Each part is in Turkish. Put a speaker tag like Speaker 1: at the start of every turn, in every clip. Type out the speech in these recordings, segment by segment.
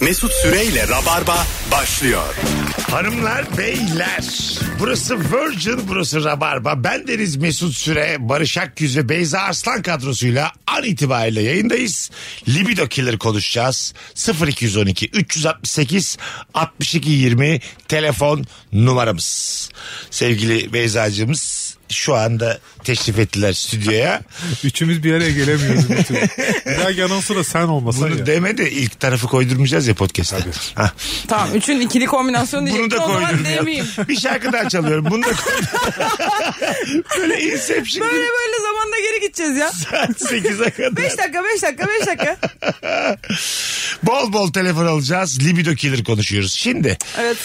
Speaker 1: Mesut Süreyle Rabarba başlıyor.
Speaker 2: Hanımlar, beyler. Burası Virgin, burası Rabarba. Ben Deniz Mesut Süre, Barış Akyüz ve Beyza Arslan kadrosuyla an itibariyle yayındayız. Libido Killer konuşacağız. 0212 368 62 20 telefon numaramız. Sevgili Beyza'cığımız şu anda teşrif ettiler stüdyoya.
Speaker 3: Üçümüz bir araya gelemiyoruz bir türlü. Bir dahaki anonsu da sen olmasan
Speaker 2: Bunu
Speaker 3: ya.
Speaker 2: deme de ilk tarafı koydurmayacağız ya podcast'a. Ha,
Speaker 4: Tamam üçün ikili kombinasyon
Speaker 2: Bunu
Speaker 4: diyecektim
Speaker 2: da
Speaker 4: o zaman
Speaker 2: koydurmayalım.
Speaker 4: demeyeyim.
Speaker 2: Bir şarkı daha çalıyorum. Bunu da koydurmayalım. Böyle Inception
Speaker 4: Böyle
Speaker 2: gibi
Speaker 4: böyle zamanda geri gideceğiz ya.
Speaker 2: saat 8'e kadar.
Speaker 4: 5 dakika 5 dakika 5 dakika.
Speaker 2: Bol bol telefon alacağız. Libido killer konuşuyoruz. Şimdi
Speaker 4: Evet.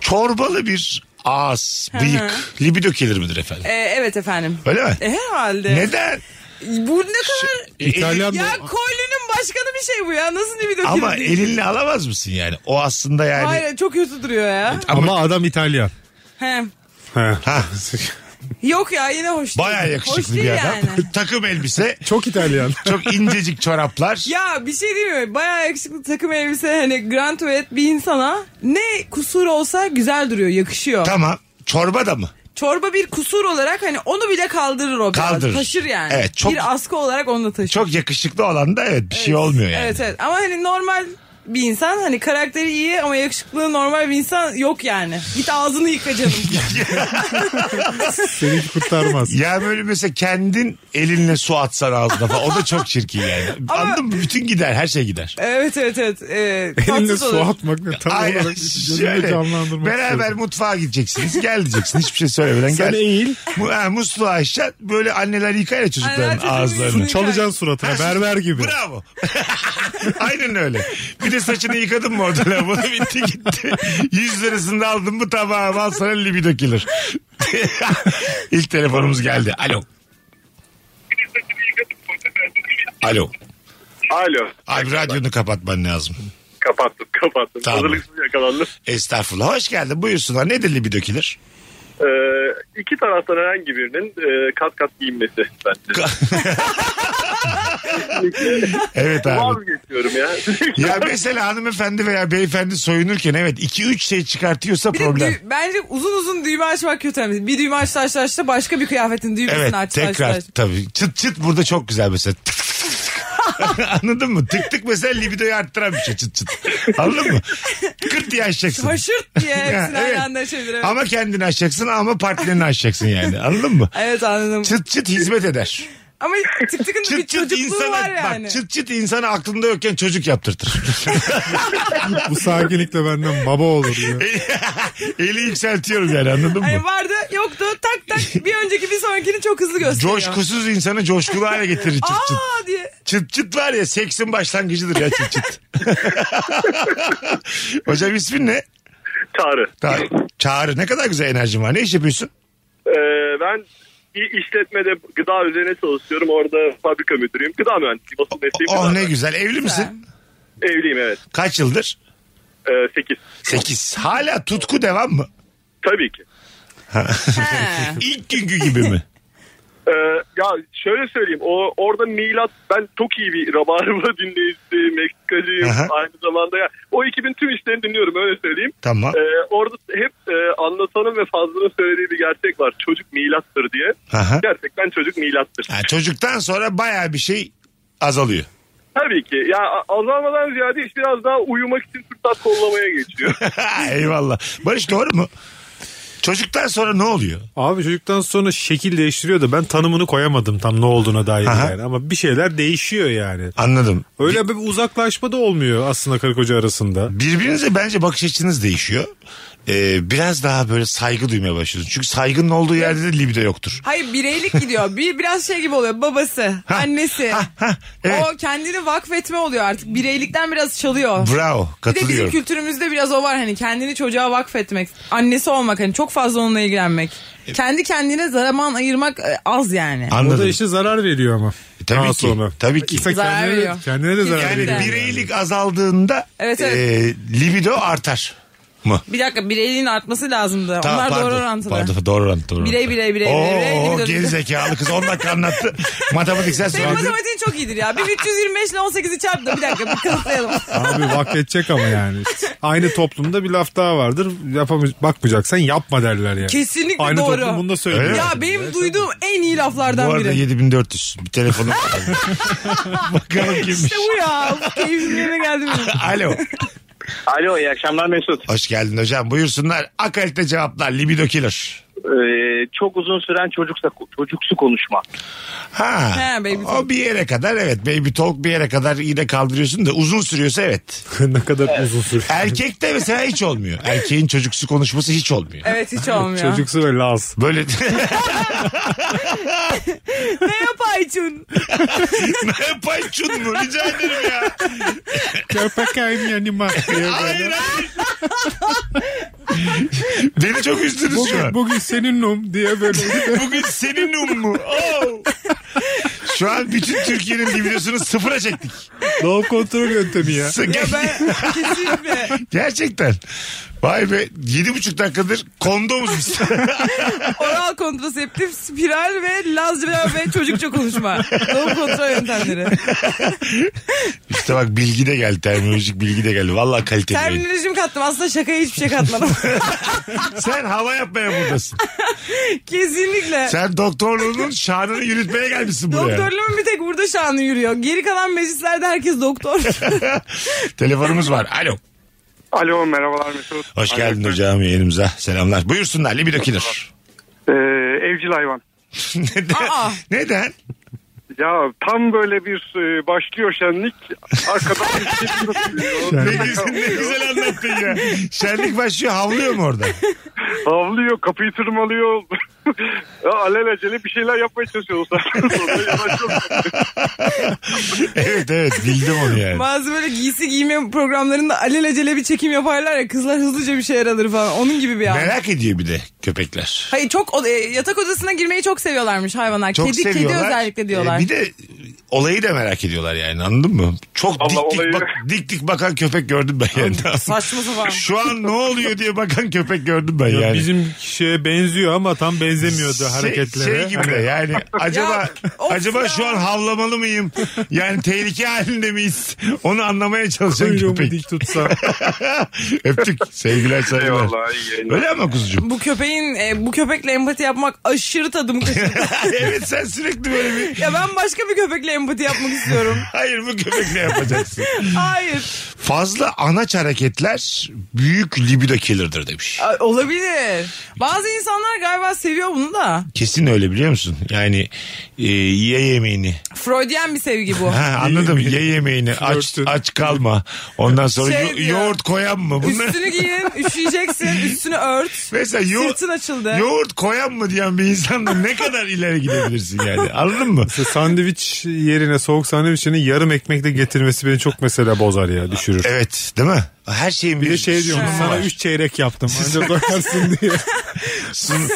Speaker 2: çorbalı bir ağız, bıyık. libido killer midir efendim?
Speaker 4: Ee, evet efendim.
Speaker 2: Öyle mi?
Speaker 4: E, herhalde.
Speaker 2: Neden? E,
Speaker 4: Bu ne kadar...
Speaker 2: Şey,
Speaker 3: İtalyan
Speaker 4: ya
Speaker 3: mı?
Speaker 4: kolinin başkanı bir şey bu ya. Nasıl bir video
Speaker 2: Ama
Speaker 4: kilidi?
Speaker 2: elinle alamaz mısın yani? O aslında yani.
Speaker 4: Hayır çok kötü duruyor ya.
Speaker 3: Ama, adam İtalyan.
Speaker 4: He.
Speaker 3: He.
Speaker 2: Ha,
Speaker 4: Yok ya yine hoş değil.
Speaker 2: bayağı
Speaker 4: hoş
Speaker 2: yakışıklı
Speaker 4: değil
Speaker 2: bir adam.
Speaker 4: Yani.
Speaker 2: Takım elbise,
Speaker 3: Çok İtalyan.
Speaker 2: çok incecik çoraplar.
Speaker 4: Ya bir şey diyeyim mi? Bayağı yakışıklı takım elbise hani grand tuvalet bir insana ne kusur olsa güzel duruyor, yakışıyor.
Speaker 2: Tamam. Çorba da mı?
Speaker 4: Çorba bir kusur olarak hani onu bile kaldırır o. biraz.
Speaker 2: Kaldırır.
Speaker 4: Taşır yani.
Speaker 2: Evet, çok-
Speaker 4: Bir askı olarak onu da taşır.
Speaker 2: Çok yakışıklı olan da evet bir şey olmuyor yani.
Speaker 4: Evet evet ama hani normal bir insan hani karakteri iyi ama yakışıklı normal bir insan yok yani. Git ağzını yıka canım.
Speaker 3: Seni hiç kurtarmaz.
Speaker 2: Ya böyle mesela kendin elinle su atsan ağzına falan. O da çok çirkin yani.
Speaker 4: Ama-
Speaker 2: Anladın mı? Bütün gider. Her şey gider.
Speaker 4: evet evet evet. Ee,
Speaker 3: Elinle
Speaker 4: tatsız
Speaker 3: su
Speaker 4: olur.
Speaker 3: atmak ne tam
Speaker 2: Aynen.
Speaker 3: olarak
Speaker 2: Şöyle,
Speaker 3: gözümde canlandırmak
Speaker 2: beraber
Speaker 3: istiyorum.
Speaker 2: mutfağa gideceksiniz. Gel diyeceksin. Hiçbir şey söylemeden
Speaker 3: Sen
Speaker 2: gel.
Speaker 3: eğil.
Speaker 2: Mu, ha, musluğu açacaksın. Böyle anneler yıkar ya çocukların
Speaker 4: Anneler çocuğun
Speaker 2: ağızlarını.
Speaker 4: yüzünü-
Speaker 3: Çalacaksın suratına berber gibi.
Speaker 2: Bravo. Aynen öyle. Bir de saçını yıkadın mı orada lavabo bitti gitti. 100 lirasını da aldın mı tamam al sana libido killer. İlk telefonumuz geldi. Alo. Alo.
Speaker 5: Alo.
Speaker 2: Abi radyonu kapatman lazım.
Speaker 5: Kapattım kapattım.
Speaker 2: Tamam.
Speaker 5: Hazırlıksız yakalandım.
Speaker 2: Estağfurullah. Hoş geldin. Buyursunlar. Nedir libido killer?
Speaker 5: Ee, iki taraftan herhangi birinin e, kat kat giyinmesi bence.
Speaker 2: Evet abi.
Speaker 5: Vazgeçiyorum ya.
Speaker 2: Ya mesela hanımefendi veya beyefendi soyunurken evet 2-3 şey çıkartıyorsa
Speaker 4: Bir de
Speaker 2: problem.
Speaker 4: dü- bence uzun uzun düğme açmak kötü. Yani Bir düğme açtı açtı açtı başka bir kıyafetin düğmesini
Speaker 2: Evet
Speaker 4: açtı açtı,
Speaker 2: tekrar
Speaker 4: açtı.
Speaker 2: tabii. Çıt çıt burada çok güzel mesela. Tık tık tık. Anladın mı? Tık tık mesela libidoyu arttıran bir şey çıt çıt. Anladın mı? Kırt diye açacaksın.
Speaker 4: Haşırt diye hepsini
Speaker 2: Ha, evet.
Speaker 4: aynı anda açabilir. Evet.
Speaker 2: Ama kendini açacaksın ama partnerini açacaksın yani. Anladın mı?
Speaker 4: Evet anladım.
Speaker 2: Çıt çıt hizmet eder.
Speaker 4: Ama tık tıkın da bir
Speaker 2: Çıt çıt
Speaker 4: çocukluğu
Speaker 2: insana
Speaker 4: var yani.
Speaker 2: bak çıt çıt insana aklında yokken çocuk yaptırtır.
Speaker 3: Bu sakinlikle benden baba olur ya.
Speaker 2: Eli yükseltiyorum yani anladın mı?
Speaker 4: Hani vardı yoktu tak tak bir önceki bir sonrakini çok hızlı gösteriyor.
Speaker 2: Coşkusuz insanı coşkulu hale getirir çıt çıt.
Speaker 4: Aa diye.
Speaker 2: Çıt çıt var ya seksin başlangıcıdır ya çıt çıt. Hocam ismin ne?
Speaker 5: Çağrı.
Speaker 2: Ta- Çağrı ne kadar güzel enerjin var. Ne iş yapıyorsun?
Speaker 5: Ee, ben bir işletmede gıda üzerine çalışıyorum. Orada fabrika müdürüyüm. Gıda mühendisliği. Basın mesleğim.
Speaker 2: Oh
Speaker 5: gıda
Speaker 2: ne
Speaker 5: mühendisi.
Speaker 2: güzel. Evli misin?
Speaker 5: Evliyim evet.
Speaker 2: Kaç yıldır?
Speaker 5: Ee, 8.
Speaker 2: 8. Hala tutku devam mı?
Speaker 5: Tabii ki.
Speaker 4: He.
Speaker 2: İlk günkü gibi mi?
Speaker 5: Ee, ya şöyle söyleyeyim o orada milat ben çok iyi bir rabarba dinleyicisi Meksikacıyım
Speaker 2: Aha.
Speaker 5: aynı zamanda ya o ekibin tüm işlerini dinliyorum öyle söyleyeyim.
Speaker 2: Tamam.
Speaker 5: Ee, orada hep e, anlatanın ve fazlanın söylediği bir gerçek var. Çocuk milattır diye.
Speaker 2: Aha.
Speaker 5: Gerçekten çocuk milattır.
Speaker 2: Ha, çocuktan sonra baya bir şey azalıyor.
Speaker 5: Tabii ki. Ya a- azalmadan ziyade iş biraz daha uyumak için fırsat kollamaya geçiyor.
Speaker 2: Eyvallah. Barış doğru mu? Çocuktan sonra ne oluyor?
Speaker 3: Abi çocuktan sonra şekil değiştiriyor da ben tanımını koyamadım tam ne olduğuna dair
Speaker 2: Aha.
Speaker 3: yani. Ama bir şeyler değişiyor yani.
Speaker 2: Anladım.
Speaker 3: Öyle bir uzaklaşma da olmuyor aslında karı koca arasında.
Speaker 2: Birbirinize bence bakış açınız değişiyor. Ee, biraz daha böyle saygı duymaya başlıyorsunuz. Çünkü saygının olduğu yerde de libido yoktur.
Speaker 4: Hayır bireylik gidiyor. Bir biraz şey gibi oluyor. Babası, annesi.
Speaker 2: evet.
Speaker 4: O kendini vakfetme oluyor artık. Bireylikten biraz çalıyor.
Speaker 2: Bravo
Speaker 4: Bir de bizim
Speaker 2: katılıyorum.
Speaker 4: kültürümüzde biraz o var hani kendini çocuğa vakfetmek, annesi olmak hani çok fazla onunla ilgilenmek.
Speaker 2: E-
Speaker 4: Kendi kendine zaman ayırmak e, az yani.
Speaker 3: O da
Speaker 2: Anladım.
Speaker 3: işte zarar veriyor ama.
Speaker 2: Tabii
Speaker 3: Daha
Speaker 2: ki, tabii ki.
Speaker 3: İnsan
Speaker 4: Zarar
Speaker 3: kendine, de,
Speaker 4: veriyor.
Speaker 3: kendine de zarar
Speaker 4: Yani
Speaker 3: veriyor.
Speaker 2: Yani bireylik azaldığında
Speaker 4: Evet, evet.
Speaker 2: e, libido ee, artar. mı?
Speaker 4: Bir dakika bireyliğin artması lazımdı.
Speaker 2: Tamam,
Speaker 4: Onlar
Speaker 2: pardon.
Speaker 4: doğru orantılı.
Speaker 2: Pardon, doğru orantı. Doğru
Speaker 4: Birey,
Speaker 2: orantı.
Speaker 4: birey, birey,
Speaker 2: Oo,
Speaker 4: birey, birey, birey.
Speaker 2: gerizekalı kız 10 dakika anlattı. Matematiksel
Speaker 4: Senin
Speaker 2: soru.
Speaker 4: matematiğin çok iyidir ya. Bir 325 ile 18'i çarptım. Bir dakika bir kanıtlayalım.
Speaker 3: Abi vakfedecek ama yani. İşte Aynı toplumda bir laf daha vardır. Yapamay bakmayacaksan yapma derler yani.
Speaker 4: Kesinlikle
Speaker 3: Aynı
Speaker 4: doğru.
Speaker 3: toplum bunu da söylüyor.
Speaker 2: Öyle mi?
Speaker 4: ya benim duyduğum en iyi
Speaker 2: Bu
Speaker 4: laflardan
Speaker 2: arada
Speaker 4: biri.
Speaker 2: 7400. Bir telefonu. Bakalım kimmiş.
Speaker 4: İşte bu ya. Bu Keyfim yerine geldi benim.
Speaker 2: Alo.
Speaker 5: Alo iyi akşamlar Mesut.
Speaker 2: Hoş geldin hocam. Buyursunlar. Akalite cevaplar. Libido killer.
Speaker 5: Ee, çok uzun süren çocuksa çocuksu konuşma.
Speaker 2: Ha.
Speaker 4: He, baby
Speaker 2: o
Speaker 4: talk.
Speaker 2: bir yere kadar evet. Baby talk bir yere kadar yine kaldırıyorsun da uzun sürüyorsa evet.
Speaker 3: ne kadar uzun süre.
Speaker 2: Erkekte mesela hiç olmuyor. Erkeğin çocuksu konuşması hiç olmuyor.
Speaker 4: Evet hiç olmuyor.
Speaker 3: Çocuksu ve laz.
Speaker 2: Böyle
Speaker 4: Ne yapaysın?
Speaker 2: ne yapayım şunu mu? Rica ederim ya.
Speaker 3: Köpek aynı yanıma.
Speaker 2: Hayır hayır. Beni çok üzdünüz şu an.
Speaker 3: Bugün, bugün senin num diye böyle.
Speaker 2: Bugün senin um mu? Oo. Şu an bütün Türkiye'nin videosunu sıfıra çektik.
Speaker 3: Doğum kontrol yöntemi ya.
Speaker 4: Ya ben kesinlikle.
Speaker 2: Gerçekten. Vay be. Yedi buçuk dakikadır kondomuz biz.
Speaker 4: Oral kontraseptif, spiral ve lazerler ve çocukça konuşma. Doğum kontrol yöntemleri.
Speaker 2: işte bak bilgi de geldi. Terminolojik bilgi de geldi. Vallahi kaliteli. yayın.
Speaker 4: Terminolojimi kattım. Aslında şakaya hiçbir şey katmadım.
Speaker 2: Sen hava yapmaya buradasın.
Speaker 4: kesinlikle.
Speaker 2: Sen doktorluğunun şanını yürütmeye gelmişsin buraya.
Speaker 4: Doktorluğumun bir tek burada şanı yürüyor. Geri kalan meclislerde herkes doktor.
Speaker 2: Telefonumuz var. Alo.
Speaker 5: Alo merhabalar Mesut.
Speaker 2: Hoş
Speaker 5: Alo.
Speaker 2: geldin hocam yayınımıza. Selamlar. Buyursunlar. Libido killer.
Speaker 5: Ee, evcil hayvan.
Speaker 2: Neden?
Speaker 4: Aa.
Speaker 2: Neden?
Speaker 5: Ya tam böyle bir e, başlıyor şenlik. Arkadan bir şey
Speaker 2: Ne
Speaker 5: geliyor.
Speaker 2: güzel, ne güzel anlattın ya. Şenlik başlıyor havlıyor mu orada?
Speaker 5: Havlıyor, kapıyı tırmalıyor. ya alelacele bir şeyler yapmaya çalışıyor. Sonra yanaşıyor.
Speaker 2: Evet evet bildim onu yani.
Speaker 4: Bazı böyle giysi giyme programlarında alelacele bir çekim yaparlar ya kızlar hızlıca bir şeyler alır falan. Onun gibi bir an.
Speaker 2: Merak ediyor bir de köpekler.
Speaker 4: Hayır çok o- e, yatak odasına girmeyi çok seviyorlarmış hayvanlar.
Speaker 2: Çok
Speaker 4: kedi kedi
Speaker 2: seviyorlar.
Speaker 4: özellikle diyorlar.
Speaker 2: Ee, bir de olayı da merak ediyorlar yani anladın mı? Çok
Speaker 5: Vallahi
Speaker 2: dik,
Speaker 5: olayı-
Speaker 2: dik, bak, dik dik bakan köpek gördüm ben yani.
Speaker 4: Saçma sapan.
Speaker 2: Şu an ne oluyor diye bakan köpek gördüm ben
Speaker 3: Ya
Speaker 2: yani.
Speaker 3: Bizim şeye benziyor ama tam benzemiyordu
Speaker 2: Şey-
Speaker 3: hareketlere.
Speaker 2: Şey gibi de
Speaker 3: Hani
Speaker 2: yani acaba
Speaker 4: of
Speaker 2: acaba
Speaker 4: ya.
Speaker 2: şu an havlamalı mıyım? Yani tehlike halinde miyiz? Onu anlamaya çalışan
Speaker 3: Kuyruğumu
Speaker 2: köpek.
Speaker 3: dik tutsa.
Speaker 2: Öptük. Sevgiler saygılar.
Speaker 5: Eyvallah, iyi yayınlar.
Speaker 2: Öyle ama kuzucuğum?
Speaker 4: Bu köpeğin e, bu köpekle empati yapmak aşırı tadım kaçırdı.
Speaker 2: evet sen sürekli böyle bir
Speaker 4: ya ben başka bir köpekle empati yapmak istiyorum.
Speaker 2: hayır bu köpekle yapacaksın.
Speaker 4: Hayır.
Speaker 2: Fazla anaç hareketler büyük libido killer'dır demiş.
Speaker 4: A- Olabilir. Bazı insanlar galiba seviyor bunu da.
Speaker 2: Kesin öyle biliyor musun? Yani e, ye yemeğini.
Speaker 4: Freudian bir sevgi bu.
Speaker 2: Ha, anladım ye yemeğini. Aç,
Speaker 3: Flörtün.
Speaker 2: aç kalma. Ondan sonra
Speaker 4: Şey
Speaker 2: yo-
Speaker 4: diyor.
Speaker 2: yoğurt koyan mı? Bunlar...
Speaker 4: Üstünü giyin, üşüyeceksin, üstünü ört.
Speaker 2: Mesela yo-
Speaker 4: Sırtın açıldı.
Speaker 2: yoğurt koyan mı diyen bir insanla ne kadar ileri gidebilirsin yani anladın mı?
Speaker 3: Mesela sandviç yerine soğuk sandviç yerine yarım ekmek de getirmesi beni çok mesela bozar ya düşürür.
Speaker 2: Evet değil mi? Her şeyin
Speaker 3: Bir de şey diyorum
Speaker 2: sunumu
Speaker 3: sana
Speaker 2: var.
Speaker 3: 3 çeyrek yaptım. Ancak doyarsın diye.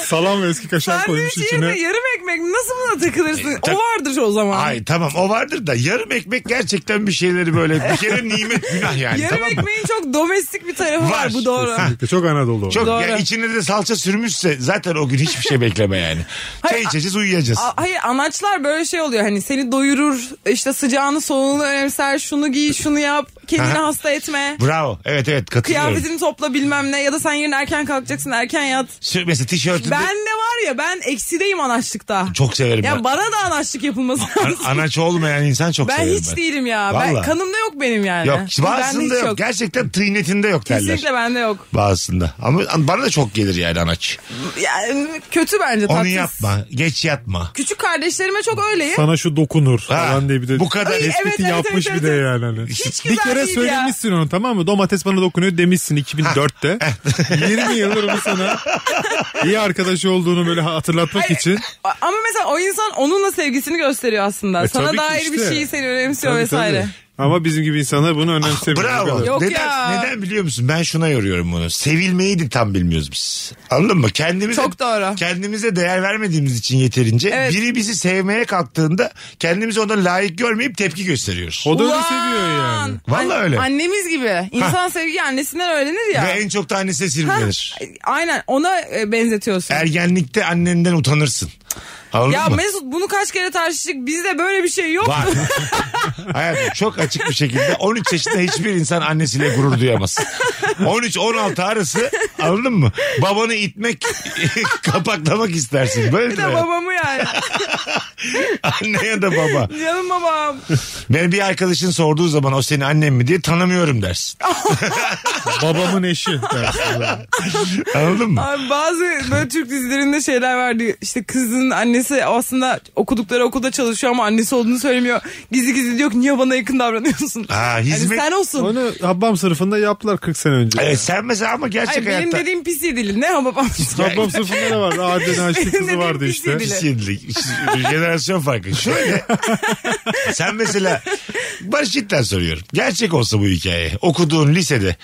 Speaker 3: Salam ve eski kaşar koymuş
Speaker 4: Sandviç yerine
Speaker 3: içine.
Speaker 4: yarım ekmek nasıl buna takılırsın?
Speaker 2: E, tak-
Speaker 4: o vardır o zaman.
Speaker 2: Ay tamam o vardır da yarım ekmek gerçekten bir şeyleri böyle bir kere nimet günah yani
Speaker 4: yarım
Speaker 2: tamam mı?
Speaker 4: ekmeğin çok domestik bir tarafı var,
Speaker 2: Var.
Speaker 4: bu doğru.
Speaker 3: Kesinlikle. Çok Anadolu.
Speaker 2: Çok
Speaker 4: Doğru.
Speaker 2: ya içine de salça sürmüşse zaten o gün hiçbir şey bekleme yani. Çay içeceğiz uyuyacağız.
Speaker 4: A- Hayır anaçlar böyle şey oluyor hani seni doyurur işte sıcağını soğuğunu önemser şunu giy şunu yap kendini
Speaker 2: Aha.
Speaker 4: hasta etme
Speaker 2: Bravo. Evet evet katılıyorum.
Speaker 4: kıyafetini topla bilmem ne ya da sen yarın erken kalkacaksın erken yat.
Speaker 2: Sür, mesela tişörtünde
Speaker 4: Ben de var ya ben eksideyim anaçlıkta.
Speaker 2: çok severim
Speaker 4: Ya
Speaker 2: ben.
Speaker 4: bana da anaçlık yapılması lazım.
Speaker 2: An- anaç olmayan insan çok
Speaker 4: ben
Speaker 2: severim
Speaker 4: hiç
Speaker 2: ben.
Speaker 4: değilim ya. Ben,
Speaker 2: Vallahi.
Speaker 4: kanımda yok benim yani.
Speaker 2: Yok
Speaker 4: Bende
Speaker 2: bazısında
Speaker 4: hiç
Speaker 2: yok. Gerçekten tıynetinde yok derler.
Speaker 4: Kesinlikle bende yok.
Speaker 2: Bazısında. Ama an- bana da çok gelir yani anaç.
Speaker 4: Yani kötü bence
Speaker 2: Onu
Speaker 4: tatsız.
Speaker 2: yapma. Geç yatma.
Speaker 4: Küçük kardeşlerime çok öyleyim.
Speaker 3: Sana şu dokunur
Speaker 2: Ha,
Speaker 3: falan diye bir de
Speaker 2: bu kadar- Ay,
Speaker 3: tespiti
Speaker 4: evet, evet,
Speaker 3: yapmış
Speaker 4: evet,
Speaker 3: bir de
Speaker 4: evet.
Speaker 3: yani. Hani.
Speaker 4: Hiç
Speaker 3: bir
Speaker 4: güzel
Speaker 3: kere
Speaker 4: değil ya.
Speaker 3: söylemişsin onu tamam mı? Domates bana dokunuyor demişsin 2004'te. 20 yıldır onu sana iyi arkadaş olduğunu böyle hatırlatmak için.
Speaker 4: A- Ama mesela o insan onunla sevgisini gösteriyor aslında.
Speaker 3: E,
Speaker 4: Sana
Speaker 3: tabii ki
Speaker 4: dair bir
Speaker 3: işte.
Speaker 4: şeyi seni önemsiyor
Speaker 3: Tabii,
Speaker 4: vesaire.
Speaker 3: tabii. Ama bizim gibi insanlar bunu önemsemiyor.
Speaker 2: Bravo.
Speaker 4: Yok
Speaker 2: neden,
Speaker 4: ya.
Speaker 2: neden biliyor musun? Ben şuna yoruyorum bunu. Sevilmeyi de tam bilmiyoruz biz. Anladın mı? Kendimize,
Speaker 4: Çok doğru.
Speaker 2: Kendimize değer vermediğimiz için yeterince.
Speaker 4: Evet.
Speaker 2: Biri bizi sevmeye kalktığında kendimizi ona layık görmeyip tepki gösteriyoruz.
Speaker 3: O da öyle
Speaker 4: Ulan!
Speaker 3: seviyor yani.
Speaker 2: Vallahi
Speaker 4: An-
Speaker 2: öyle.
Speaker 4: Annemiz gibi. İnsan sevgi annesinden öğrenir ya.
Speaker 2: Ve en çok da annesi sirkelenir.
Speaker 4: Aynen ona e, benzetiyorsun.
Speaker 2: Ergenlikte annenden utanırsın. Anladın
Speaker 4: ya
Speaker 2: mı?
Speaker 4: Mesut bunu kaç kere tartıştık. Bizde böyle bir şey yok.
Speaker 2: Var. Hayatım çok açık bir şekilde 13 yaşında hiçbir insan annesiyle gurur duyamaz. 13-16 arası anladın mı? Babanı itmek, kapaklamak istersin. Böyle
Speaker 4: Bir de babamı yani.
Speaker 2: Anne ya da baba.
Speaker 4: Canım babam.
Speaker 2: Ben bir arkadaşın sorduğu zaman o senin annen mi diye tanımıyorum dersin.
Speaker 3: Babamın eşi dersin.
Speaker 2: Anladın mı?
Speaker 4: Abi bazı böyle Türk dizilerinde şeyler vardı. İşte kızın annesi aslında okudukları okulda çalışıyor ama annesi olduğunu söylemiyor. Gizli gizli diyor ki niye bana yakın davranıyorsun?
Speaker 2: Ha, hizmet-
Speaker 4: Hani sen olsun.
Speaker 3: Onu Habbam sınıfında yaptılar 40 sene önce.
Speaker 2: Evet, sen mesela ama gerçek
Speaker 4: Ay, benim
Speaker 2: hayatta
Speaker 4: dediğim pis yedili. Ne ama babam?
Speaker 3: Habbam sınıfında ne vardı? Adem Naşit kızı
Speaker 4: Benim
Speaker 3: vardı
Speaker 4: dediğim
Speaker 3: işte.
Speaker 4: bir şey
Speaker 2: pis yedilik. Jenerasyon farkı. Şöyle sen mesela Barış cidden soruyorum. Gerçek olsa bu hikaye. Okuduğun lisede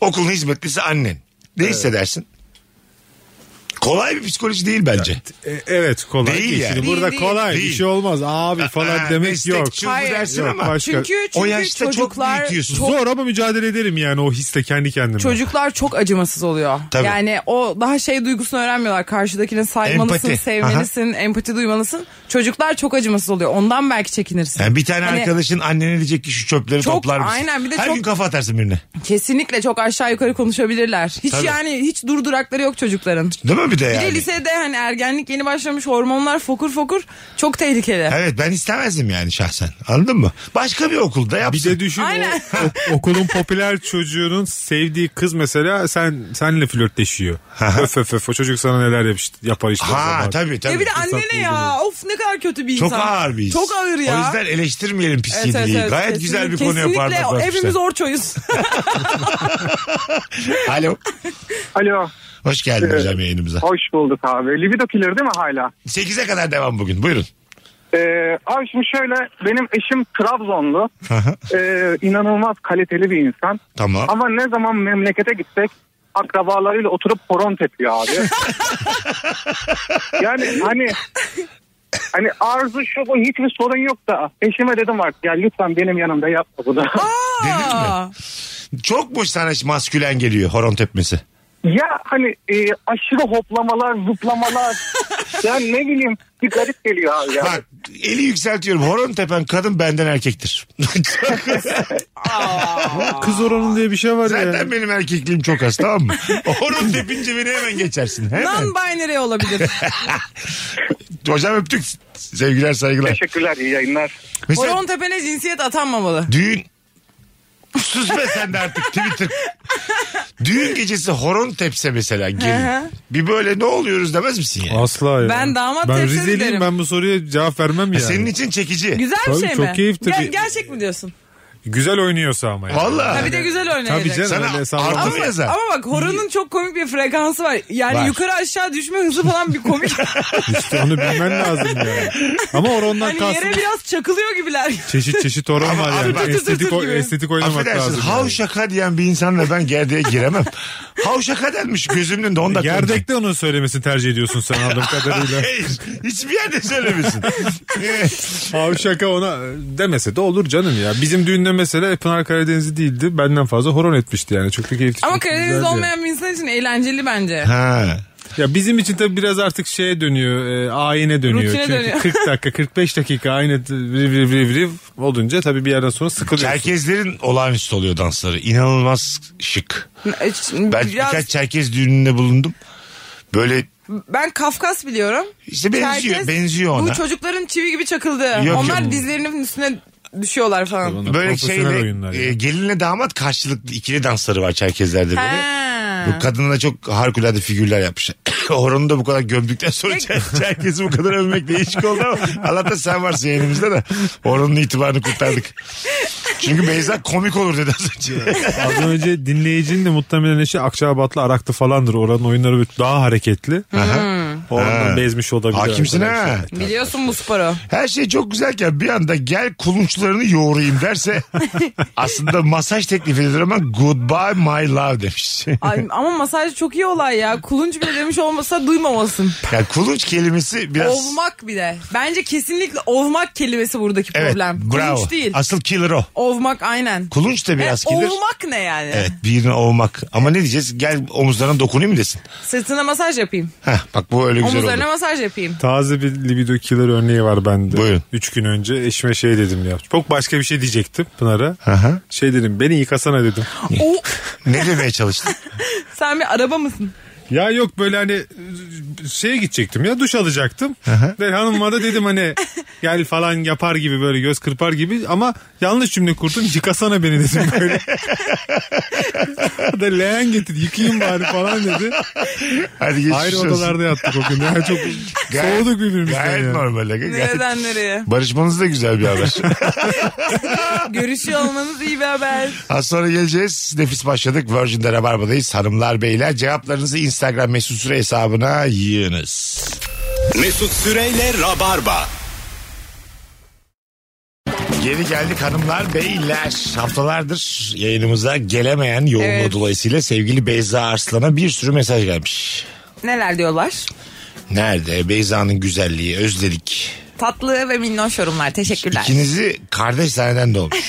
Speaker 2: okulun hizmetlisi annen. Ne hissedersin? Kolay bir psikoloji değil bence.
Speaker 3: E, evet kolay
Speaker 2: Değil
Speaker 3: değil.
Speaker 2: yani.
Speaker 3: Şimdi
Speaker 4: Değil,
Speaker 3: burada
Speaker 4: değil.
Speaker 3: kolay
Speaker 2: Değil.
Speaker 3: bir şey olmaz abi
Speaker 2: Ha,
Speaker 3: falan demek
Speaker 2: meslek
Speaker 3: yok.
Speaker 2: çubuğu
Speaker 4: Hayır.
Speaker 2: dersin
Speaker 3: Yok,
Speaker 2: ama.
Speaker 3: başka.
Speaker 4: Çünkü, çünkü
Speaker 2: O yaşta çok
Speaker 4: çocuklar
Speaker 2: büyütüyorsun.
Speaker 4: çok-
Speaker 3: Zor ama mücadele ederim yani o hisle kendi kendime.
Speaker 4: Çocuklar çok acımasız oluyor.
Speaker 2: Tabii.
Speaker 4: Yani o daha şey duygusunu öğrenmiyorlar. Karşıdakine saymalısın,
Speaker 2: Empati.
Speaker 4: sevmelisin, empati duymalısın. Çocuklar çok acımasız oluyor. Ondan belki çekinirsin.
Speaker 2: Yani bir tane
Speaker 4: Hani
Speaker 2: arkadaşın annene diyecek ki şu çöpleri
Speaker 4: Çok-
Speaker 2: toplar mısın?
Speaker 4: aynen, bir de
Speaker 2: Her
Speaker 4: çok-
Speaker 2: gün kafa atarsın birine.
Speaker 4: Kesinlikle çok aşağı yukarı konuşabilirler. Hiç
Speaker 2: Tabii.
Speaker 4: yani hiç durdurakları yok çocukların.
Speaker 2: Değil mi bir de
Speaker 4: Bir
Speaker 2: yani?
Speaker 4: de lisede hani ergenlik yeni başlamış hormonlar fokur fokur çok tehlikeli.
Speaker 2: Evet ben istemezdim yani şahsen. Anladın mı? Başka bir okulda
Speaker 3: Bir
Speaker 2: yapsın.
Speaker 3: de düşün o-
Speaker 4: Aynen.
Speaker 3: o- okulun popüler çocuğunun sevdiği kız mesela sen senle flörtleşiyor. öf öf öf o çocuk sana neler yap, yapar işte. o
Speaker 2: Ha
Speaker 3: zaman.
Speaker 2: tabii tabii.
Speaker 4: Ya E bir de annene ya of ne kadar kötü bir
Speaker 2: Çok
Speaker 4: insan.
Speaker 2: ağır bir his.
Speaker 4: Çok ağır ya.
Speaker 2: O yüzden eleştirmeyelim pisliği. Gayet
Speaker 4: kesinlikle.
Speaker 2: güzel bir konuya parmak
Speaker 4: Kesinlikle
Speaker 2: basmışlar.
Speaker 4: hepimiz orçoyuz.
Speaker 2: Alo.
Speaker 5: Alo.
Speaker 2: Hoş geldin hocam yayınımıza.
Speaker 5: Hoş bulduk abi. Libido killer değil mi hala?
Speaker 2: 8'e kadar devam bugün. Buyurun.
Speaker 5: Ee, abi şimdi şöyle benim eşim Trabzonlu. Ee, inanılmaz kaliteli bir insan.
Speaker 2: Tamam.
Speaker 5: Ama ne zaman memlekete gitsek akrabalarıyla oturup horon tepiyor abi. yani hani hani arzu şu bu hiçbir sorun yok da eşime dedim artık ya lütfen benim yanımda yapma bunu.
Speaker 4: Aa,
Speaker 2: Çok mu sana maskülen geliyor horon tepmesi?
Speaker 5: ya hani e, aşırı hoplamalar zıplamalar yani ne bileyim bir garip geliyor abi ya.
Speaker 2: Bak eli yükseltiyorum. Horon tepen kadın benden erkektir.
Speaker 3: Kız oranın diye bir şey var ya.
Speaker 2: Zaten benim erkekliğim çok az tamam mı? Horon tepince beni hemen geçersin. Hemen.
Speaker 4: non-binary olabilir.
Speaker 2: Hocam öptük. Sevgiler saygılar.
Speaker 5: Teşekkürler iyi yayınlar.
Speaker 2: Mesela
Speaker 4: Horon tepene cinsiyet atanmamalı.
Speaker 2: düğün... Sus be sen de artık Twitter. Düğün gecesi horon tepse mesela
Speaker 4: Hı
Speaker 2: gelin.
Speaker 4: hı.
Speaker 2: bir böyle ne oluyoruz demez misin yani?
Speaker 3: Asla ya.
Speaker 4: Ben damat
Speaker 3: Ben
Speaker 4: tepsisi
Speaker 3: Rizeliyim
Speaker 4: derim.
Speaker 3: ben bu soruya cevap vermem yani.
Speaker 2: E Senin için çekici.
Speaker 4: Güzel bir
Speaker 3: Tabii,
Speaker 4: şey mi?
Speaker 3: çok keyifli
Speaker 4: Ger-
Speaker 3: bir-
Speaker 4: gerçek mi diyorsun?
Speaker 3: Güzel oynuyorsa ama yani.
Speaker 2: Vallahi.
Speaker 4: Ha bir de güzel oynayacak.
Speaker 3: Tabii canım.
Speaker 2: Sana
Speaker 3: öyle sallamaz.
Speaker 2: artı mı
Speaker 4: Ama,
Speaker 2: yazar?
Speaker 4: ama bak horonun çok komik bir frekansı var. Yani
Speaker 2: Var.
Speaker 4: yukarı aşağı düşme hızı falan bir komik.
Speaker 3: İşte onu bilmen lazım yani. Ama orondan
Speaker 4: hani
Speaker 3: kalsın.
Speaker 4: yere biraz çakılıyor gibiler.
Speaker 3: Çeşit çeşit oron
Speaker 2: Ama
Speaker 3: var
Speaker 2: abi
Speaker 3: yani.
Speaker 2: bak-
Speaker 3: estetik, o-
Speaker 4: gibi.
Speaker 3: estetik oynamak
Speaker 2: Affedersin
Speaker 3: lazım.
Speaker 2: hav
Speaker 3: yani.
Speaker 2: şaka diyen bir insanla ben gerdeğe giremem. hav şaka denmiş gözümün önünde 10 dakika. önce.
Speaker 3: Gerdekte onun söylemesini tercih ediyorsun sen anladığım kadarıyla.
Speaker 2: Hayır hiçbir yerde söylemesin.
Speaker 3: Abi şaka ona demese de olur canım ya. Bizim düğünde mesela Pınar Karadeniz'i değildi. Benden fazla horon etmişti yani. Çok da keyifli.
Speaker 4: Ama
Speaker 3: çok da
Speaker 4: Karadeniz
Speaker 3: güzeldi.
Speaker 4: olmayan bir insan için eğlenceli bence.
Speaker 2: ha.
Speaker 3: Ya bizim için tabii biraz artık şeye dönüyor. E, ayine dönüyor.
Speaker 4: Rutine
Speaker 3: Çünkü
Speaker 4: dönüyor.
Speaker 3: 40 dakika 45 dakika aynı vriv vriv vriv vriv olunca tabii bir yerden sonra sıkılıyorsun.
Speaker 2: Çerkezlerin olağanüstü oluyor dansları. İnanılmaz şık. Ben
Speaker 4: Biraz,
Speaker 2: birkaç Çerkez düğününde bulundum. Böyle
Speaker 4: ben Kafkas biliyorum.
Speaker 2: işte benziyor,
Speaker 4: Herkes-
Speaker 2: benziyor ona.
Speaker 4: Bu çocukların çivi gibi çakıldı.
Speaker 2: Yok,
Speaker 4: Onlar
Speaker 2: yok.
Speaker 4: dizlerinin üstüne düşüyorlar falan.
Speaker 3: Bunlar
Speaker 2: Böyle
Speaker 3: profesyonel
Speaker 2: şeyle
Speaker 3: oyunlar
Speaker 2: e,
Speaker 3: yani.
Speaker 2: gelinle damat karşılıklı ikili dansları var Çerkezlerde böyle.
Speaker 4: Ha.
Speaker 2: Bu kadına çok harikulade figürler yapmışlar. Horonu da bu kadar gömdükten sonra Çer- Çerkez'i bu kadar övmek değişik oldu ama Allah'tan sen varsın yayınımızda da Horon'un itibarını kurtardık. Çünkü Beyza komik olur dedi az önce.
Speaker 3: Az önce dinleyicinin de muhtemelen eşi Akçabatlı Araklı falandır. Oranın oyunları böyle daha hareketli. Ondan
Speaker 2: Ha.
Speaker 3: bezmiş olabilir.
Speaker 2: Hakimsin
Speaker 3: arkadaşlar.
Speaker 2: ha.
Speaker 4: Biliyorsun bu sporu.
Speaker 2: Her şey çok güzelken bir anda gel kulunçlarını yoğurayım derse aslında masaj teklif edilir ama goodbye my love demiş.
Speaker 4: Ay, ama masaj çok iyi olay ya. Kulunç bile demiş olmasa duymamasın.
Speaker 2: yani kulunç kelimesi biraz...
Speaker 4: Ovmak bir de. Bence kesinlikle ovmak kelimesi buradaki
Speaker 2: evet,
Speaker 4: problem.
Speaker 2: bravo.
Speaker 4: Kulunç değil.
Speaker 2: Asıl killer o.
Speaker 4: Ovmak aynen.
Speaker 2: Kulunç da biraz
Speaker 4: E,
Speaker 2: killer.
Speaker 4: Ovmak ne yani?
Speaker 2: Evet birini ovmak. Ama ne diyeceğiz? Gel omuzlarına dokunayım mı desin?
Speaker 4: Sırtına masaj yapayım.
Speaker 2: Heh, bak bu öyle güzel
Speaker 4: Omuzlarına
Speaker 2: oldu.
Speaker 4: masaj yapayım.
Speaker 3: Taze bir libido killer örneği var bende.
Speaker 2: Buyurun.
Speaker 3: Üç gün önce eşime şey dedim ya. Çok başka bir şey diyecektim Pınar'a.
Speaker 2: Aha.
Speaker 3: Şey dedim beni yıkasana dedim.
Speaker 4: O,
Speaker 2: Ne demeye çalıştın?
Speaker 4: sen bir araba mısın?
Speaker 3: ya yok böyle hani e, şeye gidecektim ya duş alacaktım. Ve hanıma da dedim hani gel falan yapar gibi böyle göz kırpar gibi ama yanlış cümle kurdum yıkasana beni dedim böyle. O da leğen getir yıkayayım bari falan dedi.
Speaker 2: Hadi geçmiş
Speaker 3: Ayrı
Speaker 2: olsun.
Speaker 3: odalarda yattık o gün. Ya çok
Speaker 2: Gayet-
Speaker 3: soğuduk birbirimizden
Speaker 2: Gayet
Speaker 3: ya.
Speaker 2: normal. aga, Gayet.
Speaker 4: Nereden nereye?
Speaker 2: Barışmanız da güzel bir haber.
Speaker 4: Görüşüyor olmanız iyi bir haber.
Speaker 2: Az sonra geleceğiz. Nefis başladık. Virgin'de Rabarba'dayız. Hanımlar beyler cevaplarınızı Instagram mesut süre hesabına yığınız.
Speaker 1: Mesut Süreyle Rabarba.
Speaker 2: Geri geldik hanımlar beyler. Haftalardır yayınımıza gelemeyen yoğunluğu
Speaker 4: Evet.
Speaker 2: dolayısıyla sevgili Beyza Arslan'a bir sürü mesaj gelmiş.
Speaker 4: Neler diyorlar?
Speaker 2: Nerede? Beyza'nın güzelliği, özledik.
Speaker 4: Tatlı ve minnoş yorumlar. Teşekkürler.
Speaker 2: İkinizi kardeş zanneden de olmuş.